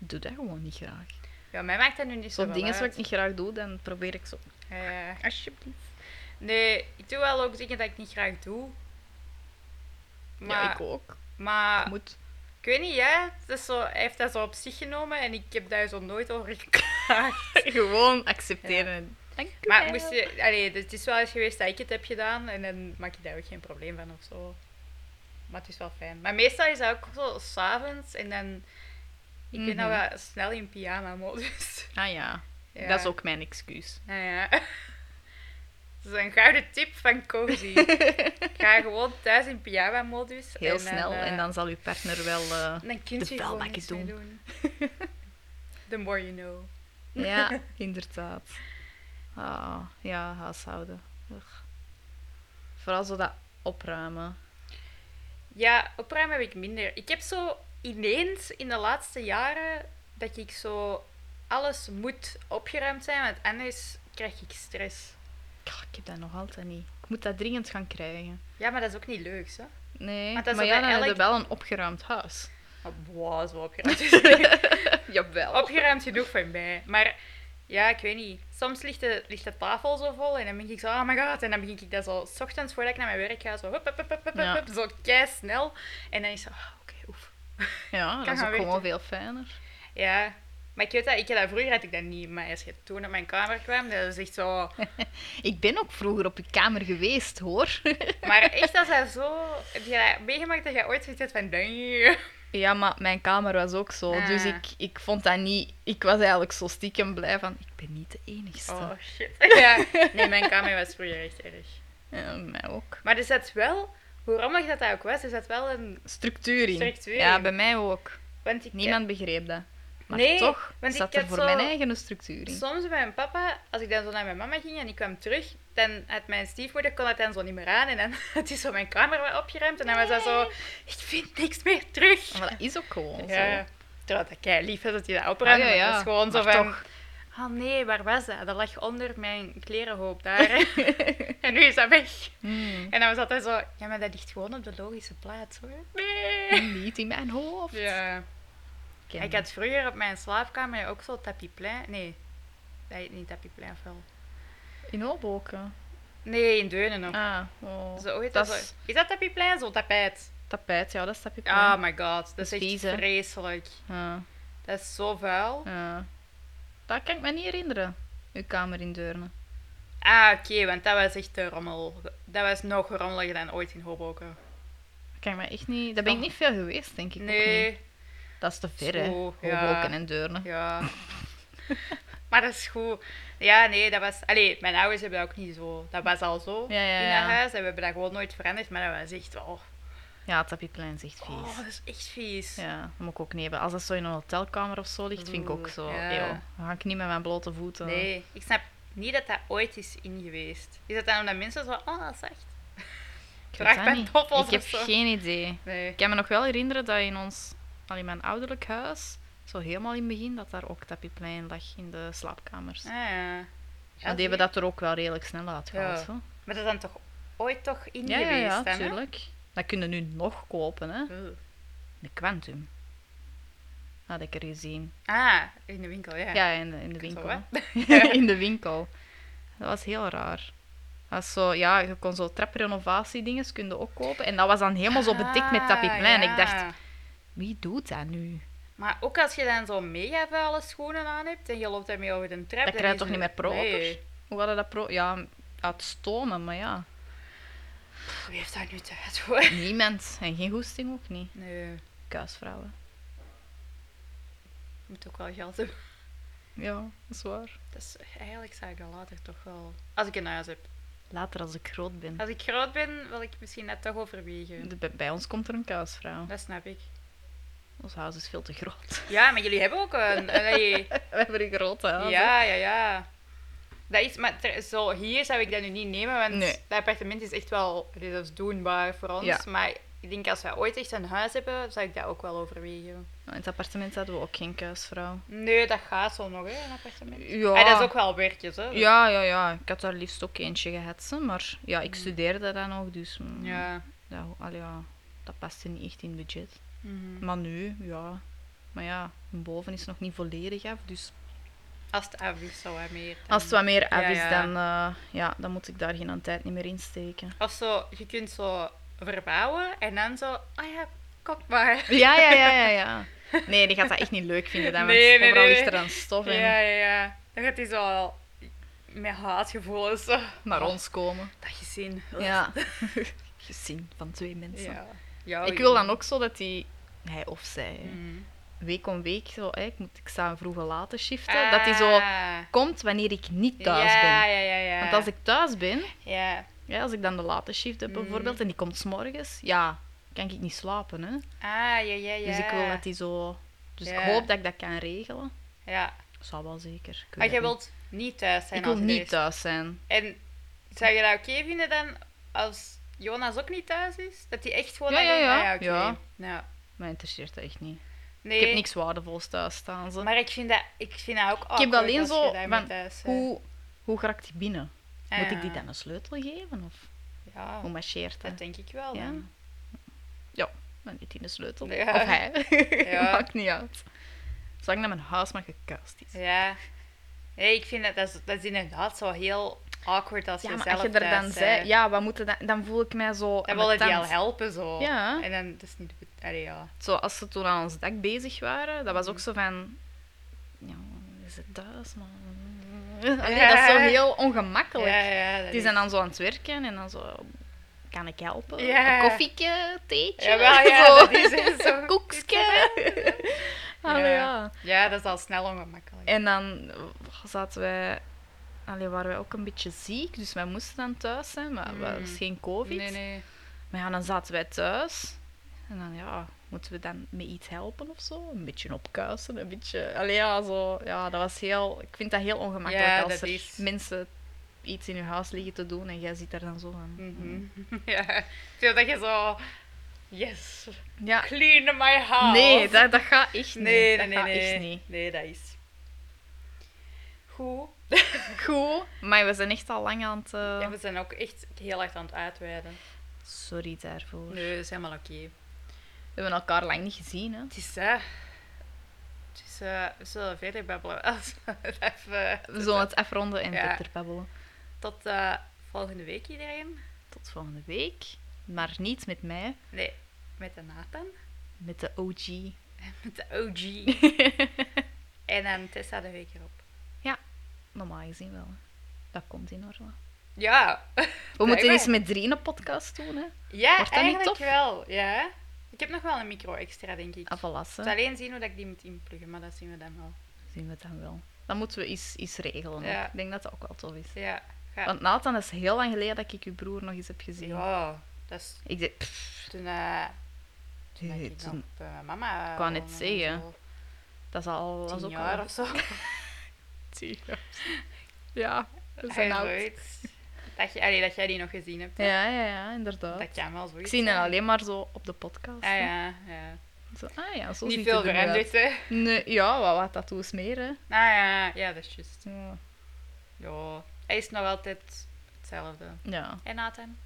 [SPEAKER 2] Ik doe dat gewoon niet graag.
[SPEAKER 3] Ja, mij maakt dat nu niet zo
[SPEAKER 2] Zo'n
[SPEAKER 3] veel
[SPEAKER 2] dingen wat
[SPEAKER 3] uit.
[SPEAKER 2] ik niet graag doe, dan probeer ik zo.
[SPEAKER 3] Ja.
[SPEAKER 2] Alsjeblieft.
[SPEAKER 3] Nee, ik doe wel ook dingen dat ik niet graag doe. Maar, Ah.
[SPEAKER 2] ja, ik ook.
[SPEAKER 3] maar
[SPEAKER 2] Moet.
[SPEAKER 3] ik weet niet, ja. Het is zo, hij heeft dat zo op zich genomen en ik heb daar zo nooit over geklaagd.
[SPEAKER 2] Gewoon accepteren. Dank u
[SPEAKER 3] Maar
[SPEAKER 2] wel.
[SPEAKER 3] moest je, allee, dus het is wel eens geweest dat ik het heb gedaan en dan maak ik daar ook geen probleem van of zo. Maar het is wel fijn. Maar meestal is dat ook zo s'avonds en dan. Ik ben nou
[SPEAKER 2] Mhm.
[SPEAKER 3] wel snel in pyjama-modus.
[SPEAKER 2] Ah ja.
[SPEAKER 3] Ja.
[SPEAKER 2] dat is ook mijn excuus.
[SPEAKER 3] Nou ja. Dat is een gouden tip van Cozy. Ga gewoon thuis in pyjama-modus.
[SPEAKER 2] Heel
[SPEAKER 3] en dan,
[SPEAKER 2] snel
[SPEAKER 3] eh,
[SPEAKER 2] en dan zal uw partner wel. eh,
[SPEAKER 3] dan kun
[SPEAKER 2] de
[SPEAKER 3] je gewoon
[SPEAKER 2] vuilbakjes
[SPEAKER 3] niks meer doen. The more you know.
[SPEAKER 2] Ja, inderdaad. Ah, ja, huishouden. Ugh. Vooral zo dat opruimen.
[SPEAKER 3] Ja, opruimen heb ik minder. Ik heb zo ineens in de laatste jaren dat ik zo alles moet opgeruimd zijn, want anders krijg ik stress.
[SPEAKER 2] Ah, ik heb dat nog altijd niet. Ik moet dat dringend gaan krijgen.
[SPEAKER 3] Ja, maar dat is ook niet leuk, hè?
[SPEAKER 2] Nee,
[SPEAKER 3] Maar
[SPEAKER 2] maar,
[SPEAKER 3] dat is zo
[SPEAKER 2] ja,
[SPEAKER 3] bij
[SPEAKER 2] dan heb je
[SPEAKER 3] elk-
[SPEAKER 2] wel een opgeruimd huis.
[SPEAKER 3] Oh, wow, zo opgeruimd. is-
[SPEAKER 2] Jawel.
[SPEAKER 3] opgeruimd genoeg voor mij. Maar ja, ik weet niet. Soms ligt de, ligt de tafel zo vol en dan ben ik zo, oh my god. En dan begin ik dat zo, s ochtends voordat ik naar mijn werk ga, zo, hup, hup, hup, hup, hup,
[SPEAKER 2] Ja.
[SPEAKER 3] hup, zo kei snel. En dan is het zo, ah, oké, oef.
[SPEAKER 2] Ja, dat
[SPEAKER 3] gaan
[SPEAKER 2] is ook gewoon
[SPEAKER 3] werken.
[SPEAKER 2] veel fijner.
[SPEAKER 3] Ja, maar ik weet dat, ik heb dat vroeger had ik dat niet. Maar als je toen op mijn kamer kwam, dat is echt zo...
[SPEAKER 2] Ik ben ook vroeger op je kamer geweest, hoor.
[SPEAKER 3] Maar echt, als hij zo... Heb je dat meegemaakt dat jij ooit zoiets hebt van... "Nee."
[SPEAKER 2] ja, maar mijn kamer was ook zo. Dus
[SPEAKER 3] Ah.
[SPEAKER 2] ik, ik vond dat niet... Ik was eigenlijk zo stiekem blij van... Ik ben niet de enigste.
[SPEAKER 3] Oh, shit. Ja. Nee, mijn kamer was vroeger echt erg.
[SPEAKER 2] Ja, mij ook.
[SPEAKER 3] Maar er zat wel... Hoe rommelig dat dat ook was, er zat wel een...
[SPEAKER 2] Structuur in.
[SPEAKER 3] Structuur
[SPEAKER 2] Ja,
[SPEAKER 3] in.
[SPEAKER 2] bij mij ook.
[SPEAKER 3] Want ik,
[SPEAKER 2] Niemand begreep dat. Maar
[SPEAKER 3] Nee,
[SPEAKER 2] toch
[SPEAKER 3] want ik
[SPEAKER 2] zat er
[SPEAKER 3] had
[SPEAKER 2] voor
[SPEAKER 3] zo-
[SPEAKER 2] mijn eigen structuur in.
[SPEAKER 3] Soms bij mijn papa, als ik dan zo naar mijn mama ging en ik kwam terug, dan had mijn stiefmoeder kon dat dan zo niet meer aan. En dan had hij zo mijn kamer wel opgeruimd. En dan was dat zo... Ik vind niks meer terug.
[SPEAKER 2] Maar dat is ook gewoon
[SPEAKER 3] Ja.
[SPEAKER 2] zo.
[SPEAKER 3] Terwijl dat kei lief is dat hij dat opruimt.
[SPEAKER 2] Ah, ja,
[SPEAKER 3] maar
[SPEAKER 2] ja.
[SPEAKER 3] Dat is gewoon zo
[SPEAKER 2] Maar
[SPEAKER 3] van...
[SPEAKER 2] toch.
[SPEAKER 3] Oh nee, waar was dat? Dat lag onder mijn klerenhoop daar. en nu is dat weg.
[SPEAKER 2] Hmm.
[SPEAKER 3] En dan was altijd zo... Ja, maar dat ligt gewoon op de logische plaats, hoor. Nee.
[SPEAKER 2] Niet in mijn hoofd.
[SPEAKER 3] Ja.
[SPEAKER 2] Ken
[SPEAKER 3] Ik had vroeger op mijn slaapkamer ook zo tapijplein... Nee. Dat heet niet tapijplein, of wel?
[SPEAKER 2] dat. In Hoboken.
[SPEAKER 3] Nee, in Deunen nog.
[SPEAKER 2] Ah, oh.
[SPEAKER 3] Zo, hoe heet
[SPEAKER 2] dat
[SPEAKER 3] dat zo?
[SPEAKER 2] is-
[SPEAKER 3] Is dat tapijplein? Zo'n tapijt.
[SPEAKER 2] tapijt. Ja, dat stap je
[SPEAKER 3] Oh my god, dat is
[SPEAKER 2] is
[SPEAKER 3] echt
[SPEAKER 2] vies, hè?
[SPEAKER 3] vreselijk.
[SPEAKER 2] Ja,
[SPEAKER 3] Dat is zo vuil.
[SPEAKER 2] ja. Dat kan ik me niet herinneren. Uw kamer in Deurne.
[SPEAKER 3] Ah, oké, want dat was echt de rommel. Dat was nog rommeliger dan ooit in Hoboken.
[SPEAKER 2] Dat kan ik me echt niet... Daar ben ik niet veel geweest, denk ik. ook niet.
[SPEAKER 3] Nee,
[SPEAKER 2] Dat is te ver, hè.
[SPEAKER 3] Zo,
[SPEAKER 2] Hoboken
[SPEAKER 3] ja.
[SPEAKER 2] en Deurne.
[SPEAKER 3] ja. maar dat is goed. Ja, nee, dat was... Allee, mijn ouders hebben dat ook niet zo. Dat was al zo
[SPEAKER 2] Ja, ja,
[SPEAKER 3] in
[SPEAKER 2] ja.
[SPEAKER 3] dat huis. En we hebben dat gewoon nooit veranderd. Maar dat was echt wel...
[SPEAKER 2] Ja, het tapieplein is echt vies.
[SPEAKER 3] Oh, dat is echt vies.
[SPEAKER 2] Ja, dat moet ik ook niet hebben. Als dat zo in een hotelkamer of zo ligt, vind ik ook
[SPEAKER 3] Oeh,
[SPEAKER 2] zo...
[SPEAKER 3] ja.
[SPEAKER 2] eeuw, dan ga ik niet met mijn blote voeten...
[SPEAKER 3] Nee, ik snap niet dat dat ooit is ingeweest. Is dat dan omdat mensen zo... Oh, dat is echt...
[SPEAKER 2] Ik
[SPEAKER 3] Draag
[SPEAKER 2] weet dat niet.
[SPEAKER 3] pantoffels
[SPEAKER 2] Ik heb
[SPEAKER 3] of zo.
[SPEAKER 2] geen idee.
[SPEAKER 3] Nee.
[SPEAKER 2] Ik kan me nog wel herinneren dat in ons, al in mijn ouderlijk huis, zo helemaal in het begin, dat daar ook tapieplein lag in de slaapkamers.
[SPEAKER 3] Ah, ja. Ja,
[SPEAKER 2] maar
[SPEAKER 3] zie
[SPEAKER 2] die
[SPEAKER 3] je.
[SPEAKER 2] hebben dat er ook wel redelijk snel uitgehaald.
[SPEAKER 3] Ja.
[SPEAKER 2] hoor.
[SPEAKER 3] Maar dat is dan toch ooit toch in
[SPEAKER 2] Ja, ja,
[SPEAKER 3] geweest,
[SPEAKER 2] ja,
[SPEAKER 3] dan, hè?
[SPEAKER 2] tuurlijk. Dat kunnen nu nog kopen, hè.
[SPEAKER 3] Oeh.
[SPEAKER 2] De Quantum. Had ik er gezien.
[SPEAKER 3] Ah, in de winkel, ja.
[SPEAKER 2] Ja, in de, in de
[SPEAKER 3] Zo,
[SPEAKER 2] winkel.
[SPEAKER 3] hè?
[SPEAKER 2] hè. in de winkel. Dat was heel raar. Dat was zo, ja, je kon zo traprenovatiedinges kun je ook kopen. En dat was dan helemaal zo bedekt met tapieplein.
[SPEAKER 3] Ah,
[SPEAKER 2] Ik dacht,
[SPEAKER 3] ja.
[SPEAKER 2] wie doet dat nu?
[SPEAKER 3] Maar ook als je dan zo'n mega vuile schoenen aan hebt en je loopt daarmee over de trap... dan
[SPEAKER 2] Dat krijg je
[SPEAKER 3] is
[SPEAKER 2] toch
[SPEAKER 3] het-
[SPEAKER 2] niet meer proper?
[SPEAKER 3] Nee.
[SPEAKER 2] Hoe hadden dat pro... Ja, uit stomen, maar ja.
[SPEAKER 3] Wie heeft daar nu tijd voor?
[SPEAKER 2] Niemand. En geen goesting ook niet.
[SPEAKER 3] Nee,
[SPEAKER 2] Kuisvrouwen.
[SPEAKER 3] moet ook wel geld hebben.
[SPEAKER 2] Ja, dat is waar.
[SPEAKER 3] Dat is, eigenlijk zou ik dat later toch wel... Als ik een huis heb.
[SPEAKER 2] Later als ik groot ben.
[SPEAKER 3] Als ik groot ben, wil ik misschien net toch overwegen.
[SPEAKER 2] De- bij- bij ons komt er een kuisvrouw.
[SPEAKER 3] Dat snap ik.
[SPEAKER 2] Ons huis is veel te groot.
[SPEAKER 3] Ja, maar jullie hebben ook een... allee,
[SPEAKER 2] We hebben een grote huis. hè.
[SPEAKER 3] ja, ja, ja. Dat is, maar ter- zo, hier zou ik dat nu niet nemen, want
[SPEAKER 2] Nee.
[SPEAKER 3] dat appartement is echt wel dit is doenbaar voor ons.
[SPEAKER 2] Ja.
[SPEAKER 3] Maar ik denk als wij ooit echt een huis hebben, zou ik dat ook wel overwegen.
[SPEAKER 2] In het appartement hadden we ook geen kuisvrouw.
[SPEAKER 3] Nee, dat gaat zo nog, hè, een appartement.
[SPEAKER 2] Ja.
[SPEAKER 3] Ah, dat is ook wel werkjes, hè.
[SPEAKER 2] Ja, ja, ja. Ik had daar liefst ook eentje gehad, hè, maar ja, ik studeerde dan nog, dus mm,
[SPEAKER 3] Mm. Ja.
[SPEAKER 2] dat, allee, ja, dat paste niet echt in het budget.
[SPEAKER 3] Mhm.
[SPEAKER 2] Maar nu, ja. Maar ja, boven is nog niet volledig af, dus
[SPEAKER 3] Als het af is, zo wat meer. dan-
[SPEAKER 2] als het wat meer af
[SPEAKER 3] Ja,
[SPEAKER 2] is,
[SPEAKER 3] ja.
[SPEAKER 2] Dan, eh, ja, dan moet ik daar geen tijd niet meer in steken.
[SPEAKER 3] Of zo, je kunt zo verbouwen en dan zo, ah ja, kop maar.
[SPEAKER 2] Ja, ja, ja, ja, ja. Nee, die gaat dat echt niet leuk vinden, dan, want
[SPEAKER 3] Nee, nee,
[SPEAKER 2] overal
[SPEAKER 3] nee.
[SPEAKER 2] ligt er dan stof en
[SPEAKER 3] Ja, ja, ja. Dan gaat hij zo al met haatgevoelens zo.
[SPEAKER 2] naar ons komen.
[SPEAKER 3] Dat gezien.
[SPEAKER 2] Ja. Gezin van twee mensen.
[SPEAKER 3] Ja. Ja,
[SPEAKER 2] Ik wil dan ook zo dat die, hij of zij,
[SPEAKER 3] Mm.
[SPEAKER 2] hè,
[SPEAKER 3] Mhm.
[SPEAKER 2] week om week, zo, hè, ik, moet, ik sta een vroege late shiften, dat hij zo komt wanneer ik niet
[SPEAKER 3] Ah.
[SPEAKER 2] thuis
[SPEAKER 3] ja,
[SPEAKER 2] ben.
[SPEAKER 3] Ja, ja, ja.
[SPEAKER 2] Want als ik thuis ben,
[SPEAKER 3] Ja.
[SPEAKER 2] ja, als ik dan de late shift
[SPEAKER 3] Mm.
[SPEAKER 2] heb bijvoorbeeld en die komt s'morgens, ja, kan ik niet slapen. Hè?
[SPEAKER 3] Ah, ja, ja, ja.
[SPEAKER 2] Dus ik wil dat die zo. Dus
[SPEAKER 3] Ja.
[SPEAKER 2] ik hoop dat ik dat kan regelen.
[SPEAKER 3] Ja.
[SPEAKER 2] Zou wel zeker. Ik weet
[SPEAKER 3] Maar jij
[SPEAKER 2] het
[SPEAKER 3] wilt niet thuis
[SPEAKER 2] niet.
[SPEAKER 3] zijn
[SPEAKER 2] Ik wil
[SPEAKER 3] als
[SPEAKER 2] niet
[SPEAKER 3] deze.
[SPEAKER 2] thuis zijn.
[SPEAKER 3] En zou je dat oké vinden dan als Jonas ook niet thuis is? Dat hij echt gewoon...
[SPEAKER 2] Ja, ja,
[SPEAKER 3] alleen-
[SPEAKER 2] ja.
[SPEAKER 3] Ah, oké.
[SPEAKER 2] Ja.
[SPEAKER 3] Nou,
[SPEAKER 2] Mij interesseert dat echt niet.
[SPEAKER 3] nee.
[SPEAKER 2] Ik heb niks waardevols thuis staan. Ze.
[SPEAKER 3] Maar ik vind dat, ik vind dat ook
[SPEAKER 2] ik heb
[SPEAKER 3] awkward
[SPEAKER 2] alleen
[SPEAKER 3] als je
[SPEAKER 2] zo.
[SPEAKER 3] daarmee
[SPEAKER 2] Van,
[SPEAKER 3] thuis bent.
[SPEAKER 2] hoe, hoe raakt die binnen?
[SPEAKER 3] Ah,
[SPEAKER 2] Moet ik die
[SPEAKER 3] ja.
[SPEAKER 2] dan een sleutel geven? Of
[SPEAKER 3] Ja,
[SPEAKER 2] hoe marcheert dat?
[SPEAKER 3] dat denk ik wel.
[SPEAKER 2] Ja.
[SPEAKER 3] dan.
[SPEAKER 2] Ja, maar niet in de sleutel.
[SPEAKER 3] Ja.
[SPEAKER 2] Of hij.
[SPEAKER 3] Ja.
[SPEAKER 2] Maakt niet uit. Zolang dat mijn huis maar gekast is.
[SPEAKER 3] Ja. Nee, ik vind dat, dat, is, dat is inderdaad zo heel awkward als
[SPEAKER 2] Ja,
[SPEAKER 3] je
[SPEAKER 2] maar
[SPEAKER 3] zelf
[SPEAKER 2] als je er dan
[SPEAKER 3] thuis bent.
[SPEAKER 2] zei, ja, wat moeten dan, dan voel ik mij zo.
[SPEAKER 3] Dan willen die
[SPEAKER 2] ambetant.
[SPEAKER 3] al helpen zo.
[SPEAKER 2] Ja.
[SPEAKER 3] En dan, dat is niet... de be- Allee, ja.
[SPEAKER 2] Zo, als ze toen aan ons dak bezig waren,
[SPEAKER 3] Mhm.
[SPEAKER 2] dat was ook zo van. Ja, we zitten thuis, man. Allee,
[SPEAKER 3] Ja.
[SPEAKER 2] Dat is zo heel ongemakkelijk.
[SPEAKER 3] Ja, ja, dat
[SPEAKER 2] Die
[SPEAKER 3] is-
[SPEAKER 2] zijn dan zo aan het werken en dan zo. Kan ik helpen?
[SPEAKER 3] Ja.
[SPEAKER 2] Een koffieke, theetje?
[SPEAKER 3] Jawel, ja,
[SPEAKER 2] zo.
[SPEAKER 3] dat is echt zo.
[SPEAKER 2] Koekske. Allee, ja.
[SPEAKER 3] Ja, dat is al snel ongemakkelijk.
[SPEAKER 2] En dan zaten wij, allee, waren wij ook een beetje ziek, dus wij moesten dan thuis zijn, maar dat was geen COVID.
[SPEAKER 3] Mm. Nee, nee.
[SPEAKER 2] Maar ja, dan zaten wij thuis. En dan, ja, moeten we dan met iets helpen of zo? Een beetje opkuisen, een beetje... Allee, ja, zo... Ja, dat was heel... Ik vind dat heel ongemakkelijk
[SPEAKER 3] Ja,
[SPEAKER 2] als
[SPEAKER 3] dat
[SPEAKER 2] er
[SPEAKER 3] is.
[SPEAKER 2] mensen iets in je huis liggen te doen en jij zit daar dan zo van...
[SPEAKER 3] Mhm. Ja. Terwijl dat je zo... Yes,
[SPEAKER 2] Ja.
[SPEAKER 3] clean my house.
[SPEAKER 2] Nee, dat, dat gaat echt niet.
[SPEAKER 3] Nee,
[SPEAKER 2] dat
[SPEAKER 3] nee, nee.
[SPEAKER 2] gaat
[SPEAKER 3] Nee.
[SPEAKER 2] echt niet.
[SPEAKER 3] nee, dat is... Goed.
[SPEAKER 2] Goed, maar we zijn echt al lang aan het... eh,
[SPEAKER 3] Ja, we zijn ook echt heel erg aan het uitweiden.
[SPEAKER 2] Sorry daarvoor.
[SPEAKER 3] Nee, dat is helemaal oké.
[SPEAKER 2] We hebben elkaar lang niet gezien, hè.
[SPEAKER 3] Het is hè. Het is, eh, we zullen verder babbelen. Als we het Even
[SPEAKER 2] We zullen het afronden en
[SPEAKER 3] Ja.
[SPEAKER 2] verder babbelen.
[SPEAKER 3] tot eh, volgende week iedereen.
[SPEAKER 2] Tot volgende week. Maar niet met mij,
[SPEAKER 3] Nee, met de Nathan.
[SPEAKER 2] met de OG.
[SPEAKER 3] Met de OG. en dan Tessa de week erop.
[SPEAKER 2] Normaal gezien wel. hè. Dat komt in orde.
[SPEAKER 3] Ja.
[SPEAKER 2] We moeten
[SPEAKER 3] Blijkbaar.
[SPEAKER 2] eens met drieën een podcast doen, hè.
[SPEAKER 3] Ja,
[SPEAKER 2] Wordt dat niet
[SPEAKER 3] eigenlijk
[SPEAKER 2] tof?
[SPEAKER 3] wel. Ja. Ik heb nog wel een micro extra, denk ik.
[SPEAKER 2] Ah,
[SPEAKER 3] Ik moet
[SPEAKER 2] Avalassen.
[SPEAKER 3] alleen zien hoe dat ik die moet inpluggen, maar dat zien we dan wel.
[SPEAKER 2] Zien we het dan wel. Dat moeten we eens, eens regelen. ook.
[SPEAKER 3] Ja.
[SPEAKER 2] Ik denk dat dat ook wel tof is.
[SPEAKER 3] Ja. Ga.
[SPEAKER 2] Want Nathan, is heel lang geleden dat ik je broer nog eens heb gezien.
[SPEAKER 3] Ja, dat is
[SPEAKER 2] Ik zei, pff,
[SPEAKER 3] toen... eh dat
[SPEAKER 2] nee,
[SPEAKER 3] ik nog
[SPEAKER 2] toen-
[SPEAKER 3] bij mijn mama...
[SPEAKER 2] Ik wou net
[SPEAKER 3] woonde en
[SPEAKER 2] zeggen.
[SPEAKER 3] zo.
[SPEAKER 2] dat is al... Dat is
[SPEAKER 3] Tien
[SPEAKER 2] ook
[SPEAKER 3] jaar
[SPEAKER 2] al
[SPEAKER 3] of zo.
[SPEAKER 2] tien jaar. Ja, we
[SPEAKER 3] Hij
[SPEAKER 2] zijn
[SPEAKER 3] is
[SPEAKER 2] oud.
[SPEAKER 3] zoiets. Dat, je, allee, dat jij die nog gezien hebt. hè?
[SPEAKER 2] Ja, ja, ja, inderdaad.
[SPEAKER 3] Dat kan wel
[SPEAKER 2] Ik
[SPEAKER 3] zoiets.
[SPEAKER 2] zie
[SPEAKER 3] zijn.
[SPEAKER 2] hem alleen maar zo op de podcast.
[SPEAKER 3] Ah
[SPEAKER 2] hè.
[SPEAKER 3] ja, ja.
[SPEAKER 2] Zo, ah ja, zo
[SPEAKER 3] Niet
[SPEAKER 2] ziet
[SPEAKER 3] veel
[SPEAKER 2] hij er nu uit.
[SPEAKER 3] veranderd, hè?
[SPEAKER 2] Nee, ja, wat, wat tattoos meer, hè.
[SPEAKER 3] Ah ja, ja, dat is juist.
[SPEAKER 2] Ja.
[SPEAKER 3] Ja. Hij is nog altijd hetzelfde.
[SPEAKER 2] Ja,
[SPEAKER 3] En Nathan?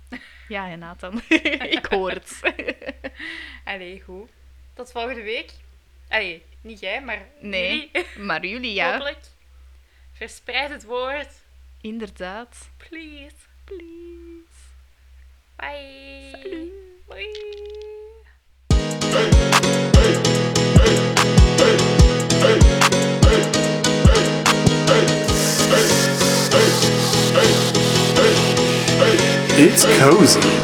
[SPEAKER 2] ja en Nathan. ik hoor het.
[SPEAKER 3] Allee, goed. Tot volgende week. Allee, niet jij, maar
[SPEAKER 2] Nee,
[SPEAKER 3] jullie,
[SPEAKER 2] maar jullie, ja.
[SPEAKER 3] hopelijk. Verspreid het woord.
[SPEAKER 2] Inderdaad.
[SPEAKER 3] Please.
[SPEAKER 2] Please.
[SPEAKER 3] Bye.
[SPEAKER 2] Salut.
[SPEAKER 3] Bye.
[SPEAKER 4] It's cozy.